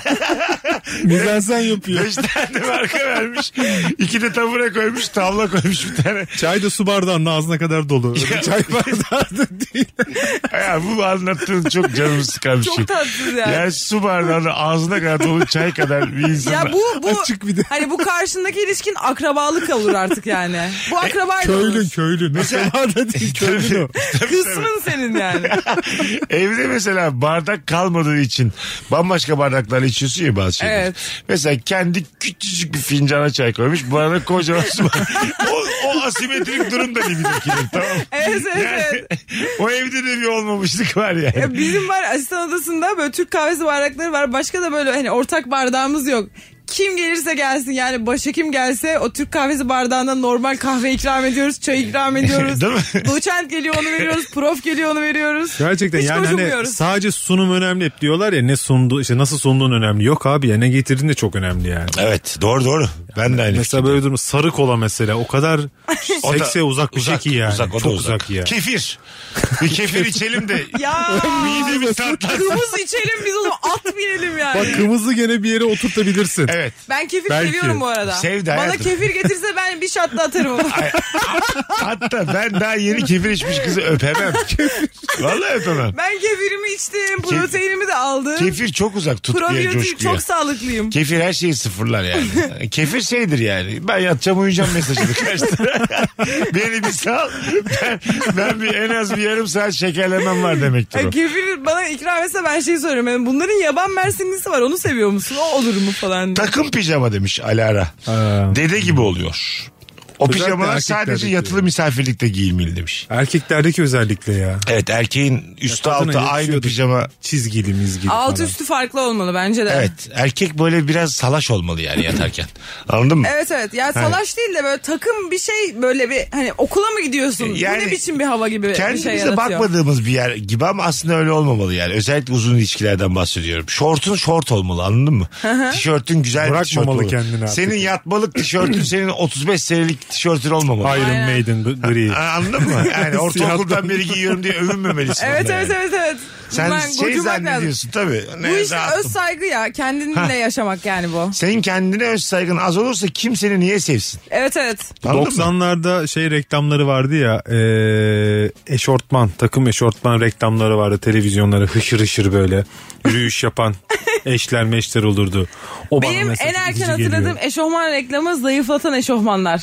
Speaker 3: Mizansen yapıyor.
Speaker 2: Beş tane marka vermiş. İki de tabure koymuş. Tavla koymuş bir tane.
Speaker 3: Çay da su bardağının ağzına kadar dolu. Öyle
Speaker 2: Ya.
Speaker 3: Çay bardağı da değil.
Speaker 2: Ya bu anlattığın çok canımı sıkan bir
Speaker 4: Çok
Speaker 2: şey.
Speaker 4: tatsız yani.
Speaker 2: Ya su bardağını ağzına kadar dolu çay kadar bir insan.
Speaker 4: Ya bu bu
Speaker 3: Açık bir de.
Speaker 4: hani bu karşındaki ilişkin akrabalık olur artık yani.
Speaker 2: E,
Speaker 4: Bu akraba
Speaker 3: Köylün köylün. Mesela da değil köylün o.
Speaker 4: kısmın senin yani.
Speaker 2: Evde mesela bardak kalmadığı için bambaşka bardaklarla içiyorsun ya bazı şeyleri.
Speaker 4: Evet.
Speaker 2: Mesela kendi küçücük bir fincana çay koymuş. Bu arada kocaman su var. o, o asimetrik durum da libidokiler tamam mı?
Speaker 4: Evet evet evet.
Speaker 2: Yani, o evde de bir olmamışlık var yani.
Speaker 4: Ya bizim var asistan odasında böyle Türk kahvesi bardakları var. Başka da böyle hani ortak bardağımız yok. Kim gelirse gelsin yani başa kim gelse o Türk kahvesi bardağına normal kahve ikram ediyoruz, çay ikram ediyoruz.
Speaker 2: Değil mi?
Speaker 4: Doçent geliyor onu veriyoruz, prof geliyor onu veriyoruz.
Speaker 3: Gerçekten
Speaker 4: Hiç
Speaker 3: yani hani
Speaker 4: bozulmuyoruz.
Speaker 3: sadece sunum önemli hep diyorlar ya ne sundu işte nasıl sunduğun önemli. Yok abi ya ne getirdiğin de çok önemli yani.
Speaker 2: Evet doğru doğru. Ben de aynı
Speaker 3: Mesela böyle durum sarı kola mesela o kadar
Speaker 2: O da-
Speaker 3: sekse uzak bir şey ki yani.
Speaker 2: Uzak, o da
Speaker 3: çok
Speaker 2: uzak.
Speaker 3: uzak ya.
Speaker 2: Kefir. Bir kefir içelim de
Speaker 4: Ya
Speaker 2: midemiz tatlansın.
Speaker 4: kırmızı içelim biz onu at binelim yani.
Speaker 3: Bak kırmızı gene bir yere oturtabilirsin.
Speaker 2: Evet.
Speaker 4: Ben kefir
Speaker 3: Belki.
Speaker 4: seviyorum bu arada.
Speaker 2: Sev de
Speaker 4: Bana
Speaker 2: hayatım.
Speaker 4: kefir getirse ben bir şatla atarım. onu.
Speaker 2: Hatta ben daha yeni kefir içmiş kızı öpemem. Vallahi öpemem.
Speaker 4: ben kefirimi içtim, proteinimi de aldım.
Speaker 2: Kefir çok uzak tutkuya
Speaker 4: Probiyotik
Speaker 2: coşkuya.
Speaker 4: çok sağlıklıyım.
Speaker 2: Kefir her şeyi sıfırlar yani. Kefir şeydir yani. Ben yatacağım uyuyacağım mesajıdır kaçtı. Beni bir sal. Ben, ben bir en az bir yarım saat şekerlemem var demektir
Speaker 4: Ay,
Speaker 2: o.
Speaker 4: kefir bana ikram etse ben şey soruyorum. Yani bunların yaban mersinlisi var onu seviyor musun? O olur mu falan. diye.
Speaker 2: Takım pijama demiş Alara.
Speaker 3: Ha.
Speaker 2: Dede gibi oluyor. O
Speaker 3: Özellikle
Speaker 2: pijamalar
Speaker 3: erkeklerdeki.
Speaker 2: sadece yatılı misafirlikte giyilmeli demiş.
Speaker 3: Erkeklerdeki özellikle ya.
Speaker 2: Evet erkeğin üstü
Speaker 3: kadına
Speaker 2: altı aynı
Speaker 3: yakışıyordu.
Speaker 2: pijama.
Speaker 3: Çizgili mizgili
Speaker 4: Alt
Speaker 3: falan.
Speaker 4: üstü farklı olmalı bence de.
Speaker 2: Evet erkek böyle biraz salaş olmalı yani yatarken. Anladın mı?
Speaker 4: Evet evet. Ya salaş değil de böyle takım bir şey böyle bir hani okula mı gidiyorsun?
Speaker 2: Yani
Speaker 4: bu ne biçim bir hava gibi bir
Speaker 2: Kendimize
Speaker 4: şey yaratıyor.
Speaker 2: bakmadığımız bir yer gibi ama aslında öyle olmamalı yani. Özellikle uzun ilişkilerden bahsediyorum. Şortun şort olmalı anladın mı? tişörtün güzel bir tişört
Speaker 3: Bırakmamalı
Speaker 2: olmalı.
Speaker 3: kendini artık.
Speaker 2: Senin yatmalık tişörtün senin 35 senelik tişörtün olmamalı.
Speaker 3: Iron
Speaker 4: Aynen.
Speaker 3: Maiden bu- gri.
Speaker 2: Ha, Anladın mı? Yani ortaokuldan
Speaker 3: Siyahtan.
Speaker 2: beri giyiyorum diye övünmemelisin.
Speaker 4: Evet
Speaker 2: onunla
Speaker 4: evet
Speaker 2: yani.
Speaker 4: evet evet.
Speaker 2: Sen
Speaker 4: Bundan
Speaker 2: şey
Speaker 4: kurtulmak lazım.
Speaker 2: zannediyorsun tabii.
Speaker 4: Bu
Speaker 2: Ne
Speaker 4: işte
Speaker 2: rahatım.
Speaker 4: öz saygı ya. Kendinle
Speaker 2: Ha.
Speaker 4: yaşamak yani bu.
Speaker 2: Senin kendine öz saygın az olursa kim seni niye sevsin?
Speaker 4: Evet evet.
Speaker 2: Anladın mı?
Speaker 3: 90'larda şey reklamları vardı ya e, eşortman takım eşortman reklamları vardı televizyonlara hışır hışır böyle yürüyüş yapan eşler meşler olurdu. O bana
Speaker 4: Benim
Speaker 3: mesela
Speaker 4: en erken
Speaker 3: itici
Speaker 4: hatırladığım
Speaker 3: geliyor.
Speaker 4: eşofman reklamı zayıflatan eşofmanlar.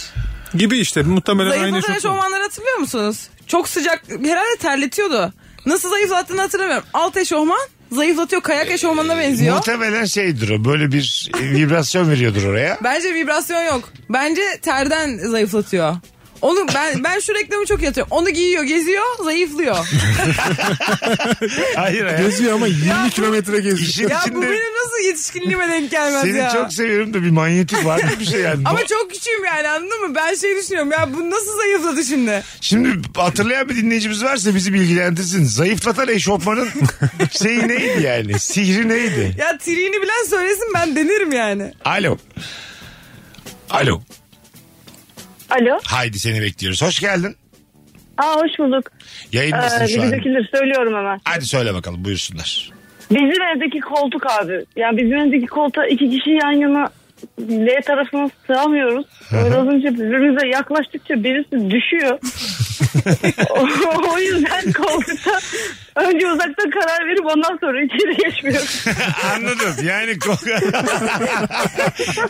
Speaker 3: gibi işte muhtemelen aynı
Speaker 4: Zayıflatan
Speaker 3: eşortman.
Speaker 4: eşofmanları hatırlıyor musunuz? Çok sıcak herhalde terletiyordu. Nasıl zayıflattığını hatırlamıyorum. Alt eşofman zayıflatıyor. Kayak eşofmanına benziyor.
Speaker 2: Muhtemelen şeydir o. Böyle bir e, vibrasyon veriyordur oraya.
Speaker 4: Bence vibrasyon yok. Bence terden zayıflatıyor. Onu ben ben şu reklamı çok yatıyorum. Onu giyiyor, geziyor, zayıflıyor.
Speaker 2: Hayır hayır.
Speaker 3: Geziyor ama 20 kilometre geziyor.
Speaker 2: İşin
Speaker 4: ya bu
Speaker 2: içinde
Speaker 4: benim nasıl yetişkinliğime denk gelmez
Speaker 2: seni
Speaker 4: ya.
Speaker 2: çok seviyorum da bir manyetik var mı bir şey yani.
Speaker 4: Ama
Speaker 2: Bu-
Speaker 4: çok küçüğüm yani anladın mı? Ben şey düşünüyorum ya bu nasıl zayıfladı şimdi?
Speaker 2: Şimdi hatırlayan bir dinleyicimiz varsa bizi bilgilendirsin. Zayıflatan eşofmanın şeyi neydi yani? Sihri neydi?
Speaker 4: Ya triğini bilen söylesin ben denerim yani.
Speaker 2: Alo. Alo.
Speaker 8: Alo.
Speaker 2: Haydi seni bekliyoruz. Hoş geldin.
Speaker 8: Aa hoş bulduk. Ee,
Speaker 2: Yayındasın şu an.
Speaker 8: Libidokilir söylüyorum hemen.
Speaker 2: Hadi söyle bakalım buyursunlar.
Speaker 8: Bizim evdeki koltuk abi. Yani bizim evdeki koltuğa iki kişi yan yana L tarafına sığamıyoruz. Öyle olunca birbirimize yaklaştıkça birisi düşüyor. o yüzden koltukta önce uzakta karar verip ondan sonra içeri geçmiyoruz.
Speaker 2: Anladım. Yani ko-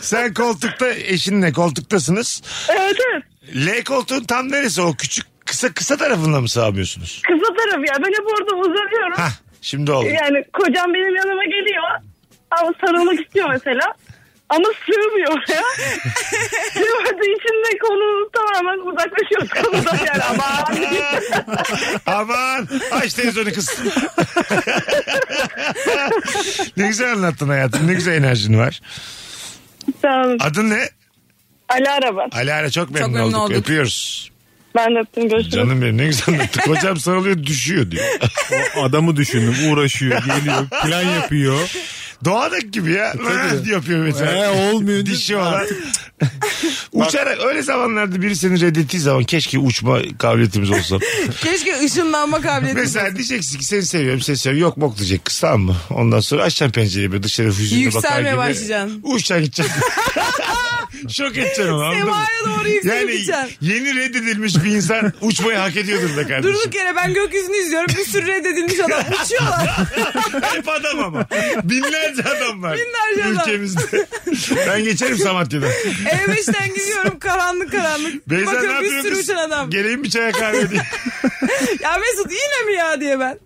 Speaker 2: sen koltukta eşinle koltuktasınız.
Speaker 8: Evet evet.
Speaker 2: L koltuğun tam neresi o küçük kısa kısa tarafında mı sığamıyorsunuz?
Speaker 8: Kısa taraf ya. Ben hep orada uzanıyorum.
Speaker 2: Hah şimdi oldu.
Speaker 8: Yani kocam benim yanıma geliyor. Ama sarılmak istiyor mesela. Ama sığmıyor ya. Sığmadığı için de konu tamamen uzaklaşıyoruz konudan yani. Ama
Speaker 2: Aman aç televizyonu kız. ne güzel anlattın hayatım. Ne güzel enerjin var.
Speaker 8: sağ olun.
Speaker 2: Adın ne?
Speaker 8: Ali araba.
Speaker 2: Alara çok memnun,
Speaker 4: memnun
Speaker 2: olduk.
Speaker 4: olduk.
Speaker 2: Öpüyoruz.
Speaker 8: Ben de öptüm görüşürüz.
Speaker 2: Canım benim ne güzel anlattın. Kocam sarılıyor düşüyor diyor.
Speaker 3: O adamı düşündüm. Uğraşıyor, geliyor, plan yapıyor.
Speaker 2: Doğadık gibi ya. Tabii. yapıyor mesela.
Speaker 3: Ee, olmuyor.
Speaker 2: Dişi olan. Uçarak öyle zamanlarda biri seni reddettiği zaman keşke uçma kabiliyetimiz olsa.
Speaker 4: Keşke ışınlanma kabiliyeti.
Speaker 2: Mesela diyeceksin ki seni seviyorum seni seviyorum yok bok diyecek kız tamam mı? Ondan sonra açacaksın pencereyi böyle dışarı hüzünlü bakar gibi.
Speaker 4: Yükselmeye başlayacaksın.
Speaker 2: Uçacaksın gideceksin. Şok edeceksin onu anladın mı?
Speaker 4: Semaya doğru yükselip
Speaker 2: Yani
Speaker 4: gideceksin.
Speaker 2: yeni reddedilmiş bir insan uçmayı hak ediyordur da kardeşim.
Speaker 4: Durduk yere ben gökyüzünü izliyorum. Bir sürü reddedilmiş adam uçuyorlar.
Speaker 2: Hep adam ama. Binlerce adam var.
Speaker 4: Binlerce adam.
Speaker 2: Ülkemizde. ben geçerim Samatya'dan.
Speaker 4: E5'ten gidiyorum karanlık karanlık.
Speaker 2: Beyza ne
Speaker 4: Bakın bir
Speaker 2: yapıyorsun
Speaker 4: sürü
Speaker 2: kız?
Speaker 4: uçan adam.
Speaker 2: Geleyim bir çaya kahve diye.
Speaker 4: Ya Mesut yine mi ya diye ben.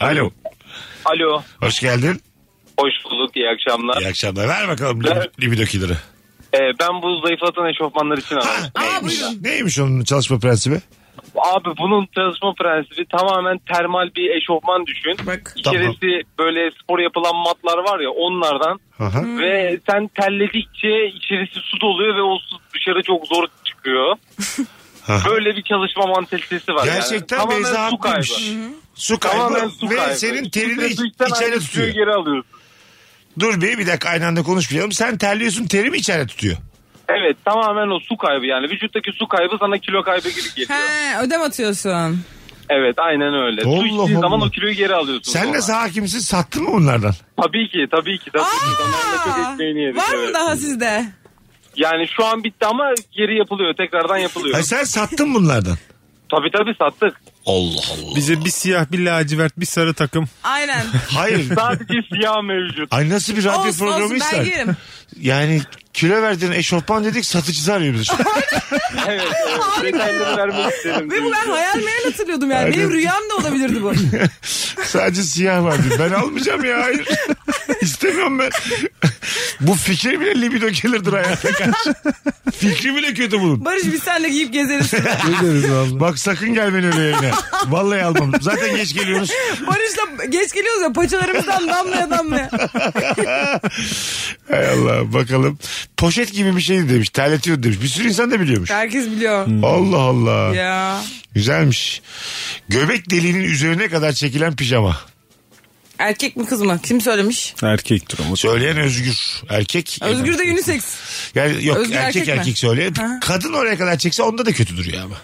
Speaker 2: Alo.
Speaker 6: Alo.
Speaker 2: Hoş geldin.
Speaker 6: Hoş bulduk. iyi akşamlar.
Speaker 2: İyi akşamlar. Ver bakalım
Speaker 6: Ver.
Speaker 2: lib- libido killeri.
Speaker 6: Ee, ben bu zayıflatan eşofmanlar için aradım.
Speaker 2: Ha, neymiş, neymiş onun çalışma prensibi?
Speaker 6: Abi bunun çalışma prensibi tamamen termal bir eşofman düşün.
Speaker 4: Bak.
Speaker 6: İçerisi böyle spor yapılan matlar var ya onlardan.
Speaker 2: Aha.
Speaker 6: Ve sen terledikçe içerisi su doluyor ve o su dışarı çok zor çıkıyor.
Speaker 2: Aha.
Speaker 6: Böyle bir çalışma mantalitesi var.
Speaker 2: Gerçekten
Speaker 6: yani. Tamamen
Speaker 2: Beyza
Speaker 6: su kaybı.
Speaker 2: haklıymış. Su
Speaker 6: Tamamen
Speaker 2: kaybı
Speaker 6: su
Speaker 2: ve
Speaker 6: kaybı.
Speaker 2: senin
Speaker 6: İçinde
Speaker 2: terini iç-
Speaker 6: su içten
Speaker 2: içeride
Speaker 6: aynı suyu
Speaker 2: tutuyor.
Speaker 6: geri alıyorsun.
Speaker 2: Dur bir, bir dakika aynı anda konuşmayalım. Sen terliyorsun terimi içeride tutuyor.
Speaker 6: Evet tamamen o su kaybı yani vücuttaki su kaybı sana kilo kaybı gibi geliyor.
Speaker 4: He ödem atıyorsun.
Speaker 6: evet aynen öyle.
Speaker 2: Allah
Speaker 6: su içtiğin zaman
Speaker 2: Allah.
Speaker 6: o kiloyu geri alıyorsun.
Speaker 2: Sen
Speaker 6: sonra.
Speaker 2: nasıl hakimsin sattın mı bunlardan?
Speaker 6: Tabii ki tabii ki. Tabii ki. Zamanla çok
Speaker 4: Aa,
Speaker 6: ekmeğini yedik.
Speaker 4: var mı
Speaker 6: evet.
Speaker 4: daha sizde?
Speaker 6: Yani şu an bitti ama geri yapılıyor. Tekrardan yapılıyor.
Speaker 2: Ha, sen sattın bunlardan.
Speaker 6: tabii tabii sattık.
Speaker 2: Allah Allah.
Speaker 3: Bize bir siyah, bir lacivert, bir sarı takım.
Speaker 4: Aynen.
Speaker 2: Hayır.
Speaker 6: Sadece siyah mevcut.
Speaker 2: Ay nasıl bir radyo
Speaker 4: olsun olsun
Speaker 2: programıysa.
Speaker 4: ben giyerim.
Speaker 2: Yani kilo verdiğin eşofman dedik satıcısı arıyor bizi. şu an.
Speaker 6: Evet. evet. Detayları vermek istedim.
Speaker 4: Ve bu ben hayal meyal hatırlıyordum yani.
Speaker 2: Aynen.
Speaker 4: Benim rüyam da olabilirdi bu.
Speaker 2: Sadece siyah var diyor. Ben almayacağım ya hayır. İstemiyorum ben. Bu fikir bile libido gelirdir hayata karşı. Fikri bile kötü bunun.
Speaker 4: Barış biz senle giyip gezeriz.
Speaker 3: Gideriz vallahi.
Speaker 2: Bak sakın gel beni öyle yayına. Vallahi almam. Zaten geç geliyoruz.
Speaker 4: Barış'la geç geliyoruz ya paçalarımızdan damlaya damlaya.
Speaker 2: Hay Allah bakalım. Poşet gibi bir şeydi demiş. Terletiyor demiş. Bir sürü insan da biliyormuş.
Speaker 4: Herkes biliyor.
Speaker 2: Allah Allah.
Speaker 4: ya.
Speaker 2: Güzelmiş. Göbek deliğinin üzerine kadar çekilen pijama.
Speaker 4: Erkek mi kız mı? Kim söylemiş?
Speaker 3: Erkektir ama.
Speaker 2: Söyleyen özgür. Erkek.
Speaker 4: Özgür de unisex.
Speaker 2: Yani yok
Speaker 4: Özgür
Speaker 2: erkek
Speaker 4: erkek mi?
Speaker 2: erkek, söyleyen.
Speaker 4: Ha.
Speaker 2: Kadın oraya kadar çekse onda da kötü duruyor ama.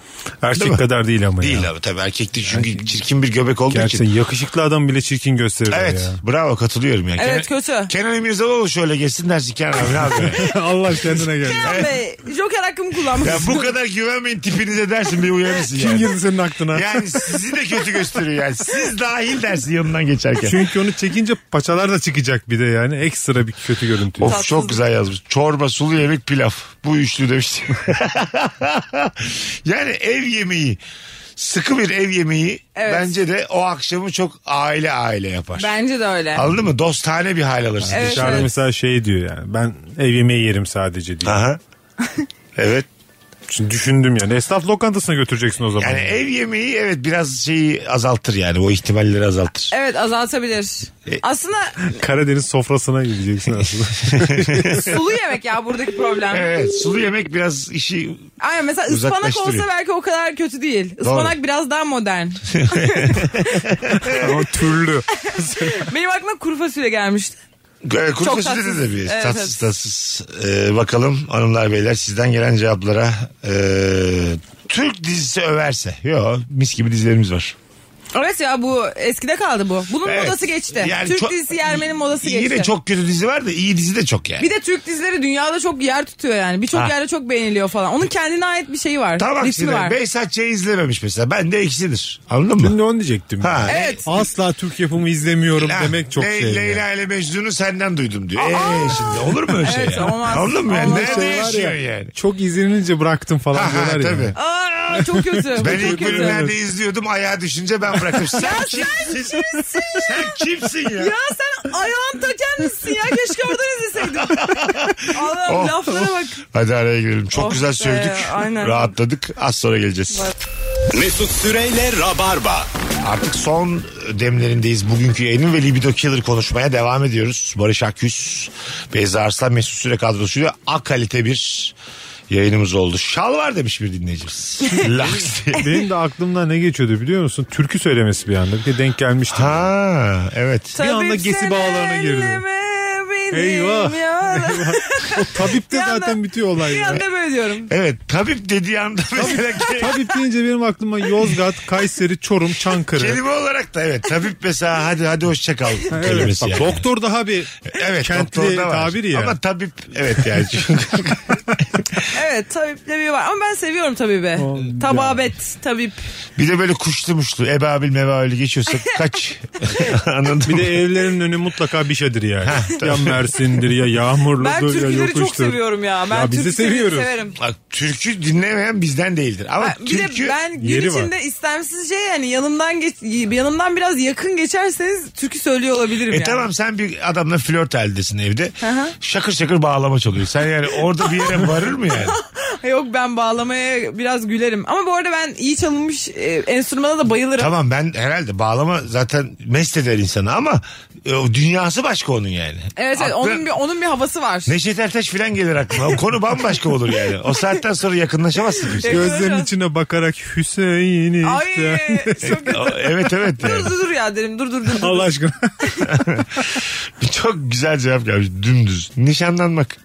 Speaker 3: Erkek
Speaker 2: Değil mi?
Speaker 3: kadar değil ama
Speaker 2: Değil
Speaker 3: ya.
Speaker 2: abi tabii erkekti çünkü çirkin bir göbek olduğu
Speaker 3: Gerçekten
Speaker 2: için.
Speaker 3: yakışıklı adam bile çirkin gösterir
Speaker 2: Evet
Speaker 3: ya.
Speaker 2: bravo katılıyorum ya.
Speaker 4: Evet
Speaker 2: Kenan,
Speaker 4: kötü.
Speaker 2: Kenan İmirzalıoğlu şöyle geçsin dersin Kenan abi ne yapıyorsun?
Speaker 3: Allah kendine gel.
Speaker 4: Kenan Bey Joker hakkımı kullanmış.
Speaker 2: ya bu kadar güvenmeyin tipinize dersin bir uyarırsın
Speaker 3: Kim
Speaker 2: yani.
Speaker 3: girdi senin aklına?
Speaker 2: Yani sizi de kötü gösteriyor yani. Siz dahil dersin yanından geçerken.
Speaker 3: Çünkü onu çekince paçalar da çıkacak bir de yani. Ekstra bir kötü görüntü.
Speaker 2: Of
Speaker 4: Tatsız.
Speaker 2: çok güzel yazmış. Çorba, sulu yemek, pilav. Bu üçlü demiş. yani ev yemeği. Sıkı bir ev yemeği
Speaker 4: Evet.
Speaker 2: bence de o akşamı çok aile aile yapar.
Speaker 4: Bence de öyle.
Speaker 2: Anladın mı? Dostane bir hal alırsın.
Speaker 4: Evet,
Speaker 3: Dışarıda
Speaker 4: evet.
Speaker 3: mesela şey diyor yani. Ben ev yemeği yerim sadece diyor.
Speaker 2: Aha. evet.
Speaker 3: Şimdi düşündüm yani. Esnaf lokantasına götüreceksin o zaman.
Speaker 2: Yani ev yemeği evet biraz şeyi azaltır yani. O ihtimalleri azaltır.
Speaker 4: Evet azaltabilir.
Speaker 2: E-
Speaker 4: Aslında
Speaker 3: Karadeniz sofrasına gideceksin aslında.
Speaker 4: sulu yemek ya buradaki problem.
Speaker 2: Evet sulu yemek biraz işi
Speaker 4: Aynen mesela ıspanak
Speaker 2: Uzaklaştırıyor.
Speaker 4: olsa belki o kadar kötü değil. Ispanak biraz daha modern.
Speaker 2: Şey-
Speaker 3: Ama türlü.
Speaker 4: Benim aklıma kuru fasulye gelmişti.
Speaker 2: E, Kuru
Speaker 4: Çok
Speaker 2: fasulye de
Speaker 4: tatsız.
Speaker 2: tabii.
Speaker 4: Evet,
Speaker 2: tatsız tatsız. E, bakalım hanımlar beyler sizden gelen ee, cevaplara. E, Türk dizisi överse. Yo mis gibi dizilerimiz var.
Speaker 4: Evet ya bu eskide kaldı bu. Bunun
Speaker 2: Evet.
Speaker 4: modası geçti.
Speaker 2: Yani
Speaker 4: Türk
Speaker 2: çok-
Speaker 4: dizisi Yermen'in modası geçti.
Speaker 2: Yine çok kötü dizi var da iyi dizi de çok yani.
Speaker 4: Bir de Türk dizileri dünyada çok yer tutuyor yani. Birçok
Speaker 2: Ha.
Speaker 4: yerde çok beğeniliyor falan. Onun kendine ait bir şeyi var.
Speaker 2: Tam
Speaker 4: ritmi
Speaker 2: aksine
Speaker 4: var.
Speaker 2: Behzatçı'yı izlememiş mesela. Ben de ikisidir. Anladın
Speaker 3: Ben
Speaker 2: mı?
Speaker 3: de onu diyecektim.
Speaker 2: Ha.
Speaker 4: Evet.
Speaker 3: Asla Türk yapımı izlemiyorum
Speaker 2: Ha,
Speaker 3: demek çok
Speaker 2: Le-
Speaker 3: şey. yani.
Speaker 2: Leyla ile Mecnun'u senden duydum diyor. Ee, şimdi olur mu öyle şey?
Speaker 4: Evet,
Speaker 2: ya?
Speaker 4: olmaz.
Speaker 2: Anladın mı? Yani?
Speaker 4: Olmaz.
Speaker 2: Nerede
Speaker 3: Şey var
Speaker 2: yaşıyor
Speaker 3: ya,
Speaker 2: yani?
Speaker 3: Çok izlenince bıraktım falan
Speaker 2: Ha, ha,
Speaker 3: diyorlar ya.
Speaker 2: tabii.
Speaker 4: Aa, çok kötü. Bu
Speaker 2: Ben
Speaker 4: çok
Speaker 2: ilk
Speaker 4: kötü.
Speaker 2: bölümlerde izliyordum ayağa düşünce ben bıraktım. Sen kimsin? Sen kimsin ya?
Speaker 4: Ya sen ayağın taker misin ya? Keşke oradan izleseydin. Allah'ım
Speaker 2: Oh.
Speaker 4: laflara bak.
Speaker 2: Hadi araya girelim. Çok
Speaker 4: Oh
Speaker 2: güzel
Speaker 4: be,
Speaker 2: sövdük.
Speaker 4: aynen.
Speaker 2: Rahatladık. Az sonra geleceğiz.
Speaker 1: Mesut Süreyle Rabarba.
Speaker 2: Artık son demlerindeyiz. Bugünkü yayının ve Libido Killer konuşmaya devam ediyoruz. Barış Akyüz, Beyza Arslan, Mesut Süre kadrosuyla A kalite bir yayınımız oldu. Şal var demiş bir dinleyicimiz. Laks diye.
Speaker 3: Benim de aklımdan ne geçiyordu biliyor musun? Türkü söylemesi bir anda. Bir de denk gelmişti.
Speaker 2: Ha evet.
Speaker 3: Bir anda gesi
Speaker 4: sen
Speaker 3: bağlarına girdi.
Speaker 4: elleme benim
Speaker 3: Eyvah.
Speaker 4: yana.
Speaker 3: O tabip de
Speaker 4: Bir anda-
Speaker 3: zaten bitiyor olay.
Speaker 4: Bir
Speaker 3: ya.
Speaker 4: anda böyle diyorum.
Speaker 2: Evet tabip dediği anda mesela ke-
Speaker 3: Tabip deyince benim aklıma Yozgat, Kayseri, Çorum, Çankırı.
Speaker 2: kelime olarak da evet tabip mesela hadi hadi hoşça kal
Speaker 3: Evet,
Speaker 2: kelimesi
Speaker 3: bak,
Speaker 2: yani.
Speaker 3: Doktor daha bir
Speaker 2: Evet
Speaker 3: kentli
Speaker 2: doktorda var.
Speaker 3: tabir ya.
Speaker 2: Ama tabip evet yani.
Speaker 4: Evet tabiple bir var. Ama ben seviyorum tabibe.
Speaker 3: Oğlum
Speaker 4: Tababet, tabip.
Speaker 2: bir de böyle kuşlu muşlu ebabil mebabil geçiyorsa kaç. Anladın
Speaker 3: Bir
Speaker 2: mı?
Speaker 3: de evlerinin önü mutlaka bir şeydir yani. ya Mersin'dir ya
Speaker 4: Ben
Speaker 3: Yağmurlu'dur ya
Speaker 4: türküleri
Speaker 3: Yokuş'tur.
Speaker 4: çok seviyorum ya. Ben
Speaker 3: Ya bizi
Speaker 4: türküleri
Speaker 3: seviyoruz.
Speaker 4: severim.
Speaker 2: Bak, türkü dinlemeyen bizden değildir. Ama
Speaker 4: Ben- Bir
Speaker 2: türkü
Speaker 4: de ben gün
Speaker 3: yeri var.
Speaker 4: içinde istemsizce yani yanımdan geç, yanımdan biraz yakın geçerseniz türkü söylüyor olabilirim
Speaker 2: E
Speaker 4: yani.
Speaker 2: tamam sen bir adamla flört haldesin evde.
Speaker 4: hı.
Speaker 2: Şakır şakır bağlama çalıyor. Sen yani orada bir yere varır mı yani?
Speaker 4: Yok ben bağlamaya biraz gülerim. Ama bu arada ben iyi çalınmış e, enstrümana da bayılırım.
Speaker 2: tamam ben herhalde bağlama zaten mest eder insanı ama e, o dünyası başka onun yani.
Speaker 4: Evet, evet
Speaker 2: Aklı-
Speaker 4: onun bir onun bir havası var.
Speaker 2: Neşet Ertaş falan gelir aklıma. O konu bambaşka olur yani. O saatten sonra yakınlaşamazsın kimseye.
Speaker 3: Gözlerinin içine bakarak Hüseyin
Speaker 4: Şey Ay
Speaker 3: işte.
Speaker 4: çok kötü.
Speaker 2: O- Evet evet.
Speaker 4: Dur
Speaker 2: yani.
Speaker 4: dur dur ya derim. Dur dur dur. dur.
Speaker 3: Allah aşkına.
Speaker 2: Çok güzel cevap gelmiş. Dümdüz. Nişanlanmak.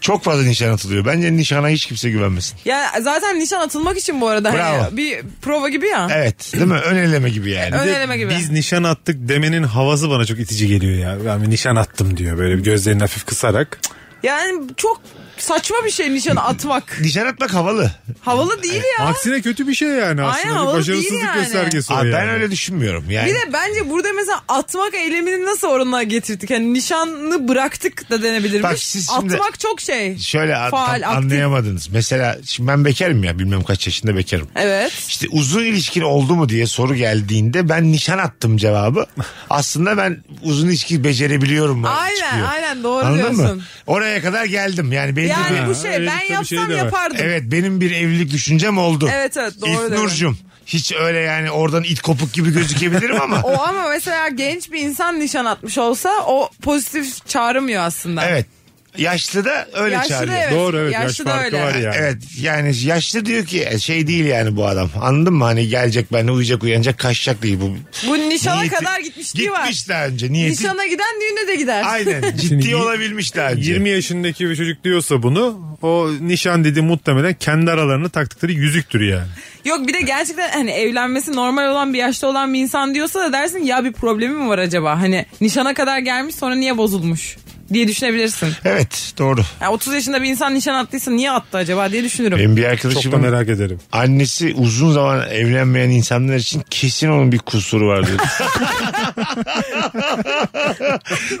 Speaker 2: Çok fazla nişan atılıyor. Bence nişana hiç kimse güvenmesin.
Speaker 4: Ya zaten nişan atılmak için bu arada
Speaker 2: Bravo.
Speaker 4: hani bir prova gibi ya.
Speaker 2: Evet değil mi? Ön eleme gibi yani.
Speaker 4: Ön eleme gibi.
Speaker 3: Biz nişan attık demenin havası bana çok itici geliyor ya. Yani nişan attım diyor böyle bir gözlerini hafif kısarak.
Speaker 4: Yani çok saçma bir şey nişan atmak.
Speaker 2: Nişan atmak havalı.
Speaker 4: Havalı değil ya.
Speaker 3: Aksine kötü bir şey yani
Speaker 4: Aynen,
Speaker 3: aslında.
Speaker 4: havalı
Speaker 3: bir
Speaker 4: değil
Speaker 3: başarısızlık
Speaker 4: yani.
Speaker 3: göstergesi o
Speaker 2: Aa,
Speaker 3: yani.
Speaker 2: ben öyle düşünmüyorum. Yani
Speaker 4: Bir de bence burada mesela atmak eylemini nasıl oranına getirdik? Yani nişanını bıraktık da denebilirmiş.
Speaker 2: Bak siz şimdi-
Speaker 4: Atmak çok şey.
Speaker 2: şöyle a-
Speaker 4: Faal,
Speaker 2: tam
Speaker 4: aktif.
Speaker 2: anlayamadınız. Mesela şimdi ben bekarım ya bilmem kaç yaşında bekarım.
Speaker 4: Evet.
Speaker 2: İşte uzun ilişkin oldu mu diye soru geldiğinde ben nişan attım cevabı. Aslında ben uzun ilişki becerebiliyorum mu?
Speaker 4: Aynen,
Speaker 2: çıkıyor.
Speaker 4: aynen, doğru
Speaker 2: Anladın
Speaker 4: diyorsun.
Speaker 2: Mı? Oraya kadar geldim. Yani belli bir-
Speaker 4: Yani bu
Speaker 3: öyle
Speaker 4: şey
Speaker 3: bir
Speaker 4: ben
Speaker 3: tabii şey
Speaker 4: yapsam
Speaker 3: de var.
Speaker 4: yapardım.
Speaker 2: Evet benim bir evlilik düşüncem oldu.
Speaker 4: Evet, evet, doğru
Speaker 2: İlk
Speaker 4: dedin.
Speaker 2: Nurcum. Hiç öyle yani oradan it kopuk gibi gözükebilirim ama.
Speaker 4: O ama mesela genç bir insan nişan atmış olsa o pozitif çağrımıyor aslında.
Speaker 2: evet. Yaşlı da öyle
Speaker 4: Yaşlı da
Speaker 2: çağırıyor.
Speaker 4: evet.
Speaker 3: Doğru evet yaş,
Speaker 4: Yaşlı da
Speaker 3: farkı
Speaker 4: öyle.
Speaker 3: var yani.
Speaker 2: Evet yani yaşlı diyor ki e, şey değil yani bu adam anladın mı hani gelecek benimle uyuyacak uyanacak kaçacak değil bu.
Speaker 4: Bu nişana
Speaker 2: Niyeti-
Speaker 4: kadar gitmişliği var.
Speaker 2: Gitmiş daha önce niyeti.
Speaker 4: Nişana giden düğüne de gider.
Speaker 2: Aynen
Speaker 3: Şimdi
Speaker 2: ciddi
Speaker 3: y-
Speaker 2: olabilmiş daha önce.
Speaker 3: 20 yaşındaki bir çocuk diyorsa bunu o nişan dedi muhtemelen kendi aralarında taktıkları yüzüktür yani.
Speaker 4: Yok bir de gerçekten hani evlenmesi normal olan bir yaşta olan bir insan diyorsa da dersin ya bir problemi mi var acaba? Hani nişana kadar gelmiş sonra niye bozulmuş diye düşünebilirsin.
Speaker 2: Evet doğru.
Speaker 4: Yani 30 yaşında bir insan nişan attıysa niye attı acaba diye düşünürüm.
Speaker 2: Benim bir
Speaker 3: Çok da
Speaker 2: arkadaşımın
Speaker 3: merak ederim.
Speaker 2: annesi uzun zaman evlenmeyen insanlar için kesin onun bir kusuru var diyor.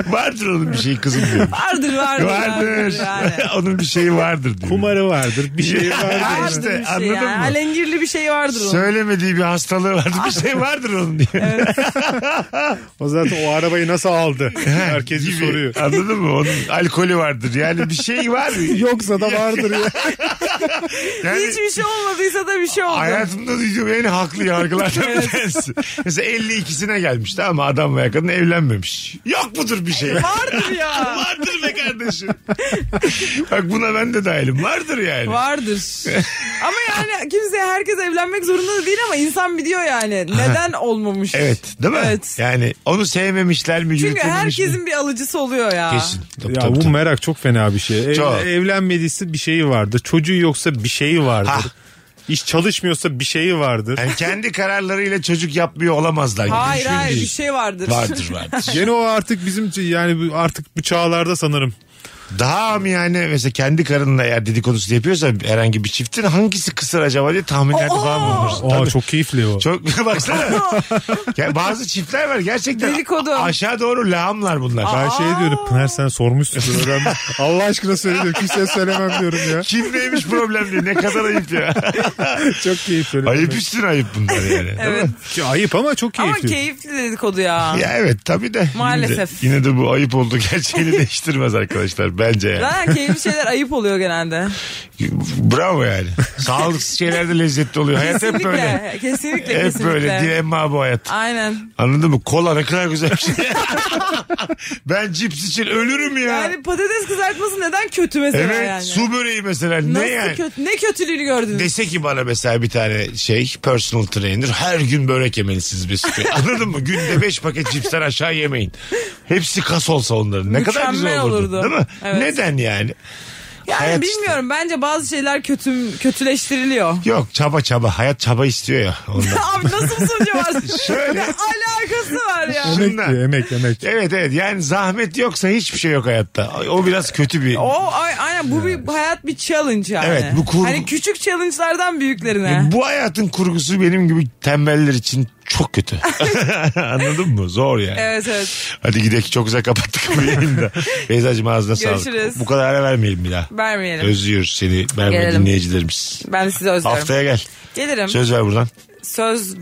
Speaker 2: vardır onun bir şey kızım diyor.
Speaker 4: Vardır vardır.
Speaker 2: Vardır.
Speaker 4: yani.
Speaker 2: onun bir şeyi vardır diyor.
Speaker 3: Kumarı vardır bir şey
Speaker 2: Ha,
Speaker 3: vardır.
Speaker 4: Vardır
Speaker 2: işte,
Speaker 4: bir şey
Speaker 2: anladın
Speaker 4: yani.
Speaker 2: mı?
Speaker 4: Alengirli bir şey vardır onun.
Speaker 2: Söylemediği bir hastalığı vardır. Bir şey vardır onun diyor.
Speaker 3: o zaten o arabayı nasıl aldı? Herkes bir
Speaker 2: gibi.
Speaker 3: soruyor.
Speaker 2: Anladın mı? Onun alkolü vardır. Yani bir şey var.
Speaker 3: Yoksa da vardır ya.
Speaker 2: Yani
Speaker 4: Hiçbir şey olmadıysa da bir şey oldu.
Speaker 2: hayatımda duyduğum en haklı yargılardan bir tanesi. Mesela 52'sine gelmiş tamam mı? Adam veya kadın evlenmemiş. Yok mudur bir şey?
Speaker 4: Vardır ya.
Speaker 2: Vardır be kardeşim. Bak buna ben de dahilim. Vardır yani.
Speaker 4: Vardır. ama yani kimse herkes evlenmek zorunda da değil ama insan biliyor yani. Neden olmamış?
Speaker 2: Evet değil mi?
Speaker 4: Evet.
Speaker 2: Yani onu sevmemişler mi?
Speaker 4: Çünkü
Speaker 2: yürütememiş mi?
Speaker 4: herkesin bir alıcısı oluyor ya.
Speaker 2: Kesin. Tabii,
Speaker 3: ya
Speaker 2: tabii,
Speaker 3: bu
Speaker 2: tabii.
Speaker 3: merak çok fena bir şey. Ev-
Speaker 2: Çok.
Speaker 3: evlenmediyse bir şeyi vardır. Çocuğu yoksa bir şeyi vardır.
Speaker 2: Ha.
Speaker 3: İş çalışmıyorsa bir şeyi vardır.
Speaker 2: Yani kendi kararlarıyla çocuk yapmıyor olamazlar. gibi
Speaker 4: Hayır
Speaker 2: düşündüğü
Speaker 4: hayır bir
Speaker 2: için.
Speaker 4: şey vardır.
Speaker 2: Vardır vardır.
Speaker 3: Gene o artık bizim ç- yani bu- artık bu çağlarda sanırım.
Speaker 2: Daha mı yani mesela kendi karınla eğer dedikodusu yapıyorsa herhangi bir çiftin hangisi kısır acaba diye tahminlerde falan bulunursun.
Speaker 3: Aa
Speaker 2: Tabii.
Speaker 3: çok keyifli o.
Speaker 2: Çok baksana. ya bazı çiftler var gerçekten.
Speaker 4: Dedikodu.
Speaker 2: Aşağı doğru lağımlar bunlar.
Speaker 3: Ben şey diyorum Pınar sen sormuşsun öğrenmiş. Allah aşkına söylüyorum kimseye söylemem diyorum ya.
Speaker 2: Kim neymiş problem diye. Ne kadar ayıp ya.
Speaker 3: Çok keyifli.
Speaker 2: ayıp üstüne ayıp bunlar yani. değil mi?
Speaker 4: Evet.
Speaker 3: Ki Ayıp ama çok
Speaker 4: Ama
Speaker 3: keyifli.
Speaker 4: keyifli dedikodu ya.
Speaker 2: Ya evet tabii de. yine de-
Speaker 4: Maalesef.
Speaker 2: Yine de, bu ayıp olduğu gerçeğini değiştirmez arkadaşlar bence yani.
Speaker 4: Zaten keyifli şeyler ayıp oluyor genelde.
Speaker 2: Bravo yani. Sağlıksız şeyler de lezzetli oluyor. Hayat hep böyle.
Speaker 4: Kesinlikle. Kesinlikle.
Speaker 2: Hep
Speaker 4: kesinlikle.
Speaker 2: böyle dilemma bu hayat.
Speaker 4: Aynen.
Speaker 2: Anladın mı? Kola ne kadar güzel bir şey. ben cips için ölürüm ya.
Speaker 4: Yani patates kızartması neden kötü mesela
Speaker 2: evet
Speaker 4: yani?
Speaker 2: su böreği mesela
Speaker 4: Nasıl
Speaker 2: ne yani?
Speaker 4: kötü? Ne kötülüğünü gördünüz?
Speaker 2: Dese ki bana mesela bir tane şey personal trainer her gün börek yemelisiniz Mesut Bey. Anladın mı? Günde 5 paket cipsten aşağı yemeyin. Hepsi kas olsa onların. Ne kadar güzel
Speaker 4: Mükemmel
Speaker 2: olurdu.
Speaker 4: olurdu.
Speaker 2: Değil mi?
Speaker 4: Evet.
Speaker 2: Neden yani?
Speaker 4: yani
Speaker 2: hayat
Speaker 4: bilmiyorum bence bazı şeyler kötü kötüleştiriliyor.
Speaker 2: Yok çaba çaba. Hayat çaba istiyor ya ondan.
Speaker 4: Abi nasıl bir sonucu var?
Speaker 2: Şöyle.
Speaker 4: Ne alakası var ya?
Speaker 3: Emek
Speaker 2: Şundan.
Speaker 3: diyor, emek emek.
Speaker 2: Evet evet yani zahmet yoksa hiçbir şey yok hayatta. O biraz kötü bir...
Speaker 4: O ay- aynen bu bir hayat bir challenge yani.
Speaker 2: Evet, bu kurgu-
Speaker 4: Hani küçük challenge'lardan büyüklerine.
Speaker 2: Bu hayatın kurgusu benim gibi tembeller için çok kötü. Anladın mı? Zor yani.
Speaker 4: Evet evet
Speaker 2: Hadi gidelim çok güzel kapattık bu yayını da. Beyza'cığım ağzına
Speaker 4: Görüşürüz.
Speaker 2: sağlık. Bu kadar ara vermeyelim bir daha.
Speaker 4: vermeyelim.
Speaker 2: Özlüyoruz seni Merve
Speaker 4: Gelelim.
Speaker 2: dinleyicilerimiz.
Speaker 4: ben sizi özlerim.
Speaker 2: Haftaya Şey- gel.
Speaker 4: Gelirim. Söz,
Speaker 2: Söz ver buradan.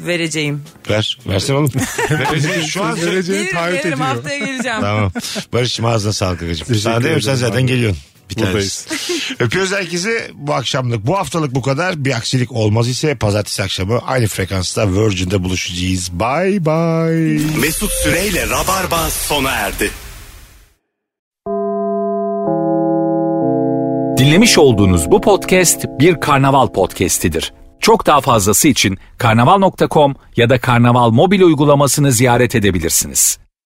Speaker 4: vereceğim.
Speaker 2: Ver. Versene oğlum. Vereceğim. Şu an söyle.
Speaker 3: Vereceğini
Speaker 4: Gelirim
Speaker 3: taahhüt
Speaker 4: gelirim
Speaker 3: ediyor.
Speaker 4: haftaya geleceğim.
Speaker 2: Tamam. Barış'cığım ağzına sağlık Agacığım.
Speaker 3: Teşekkür
Speaker 2: Sana diyorum sen
Speaker 3: ederim
Speaker 2: zaten
Speaker 3: abi.
Speaker 2: geliyorsun. Bir
Speaker 3: Buradayız.
Speaker 2: tanesi. Öpüyoruz herkesi bu akşamlık. Bu haftalık bu kadar. Bir aksilik olmaz ise pazartesi akşamı aynı frekansta Virgin'de buluşacağız. Bye bye.
Speaker 1: Mesut Süreyle Rabarba sona erdi.
Speaker 9: Dinlemiş olduğunuz bu podcast bir karnaval podcastidir. Çok daha fazlası için karnaval.com ya da karnaval mobil uygulamasını ziyaret edebilirsiniz.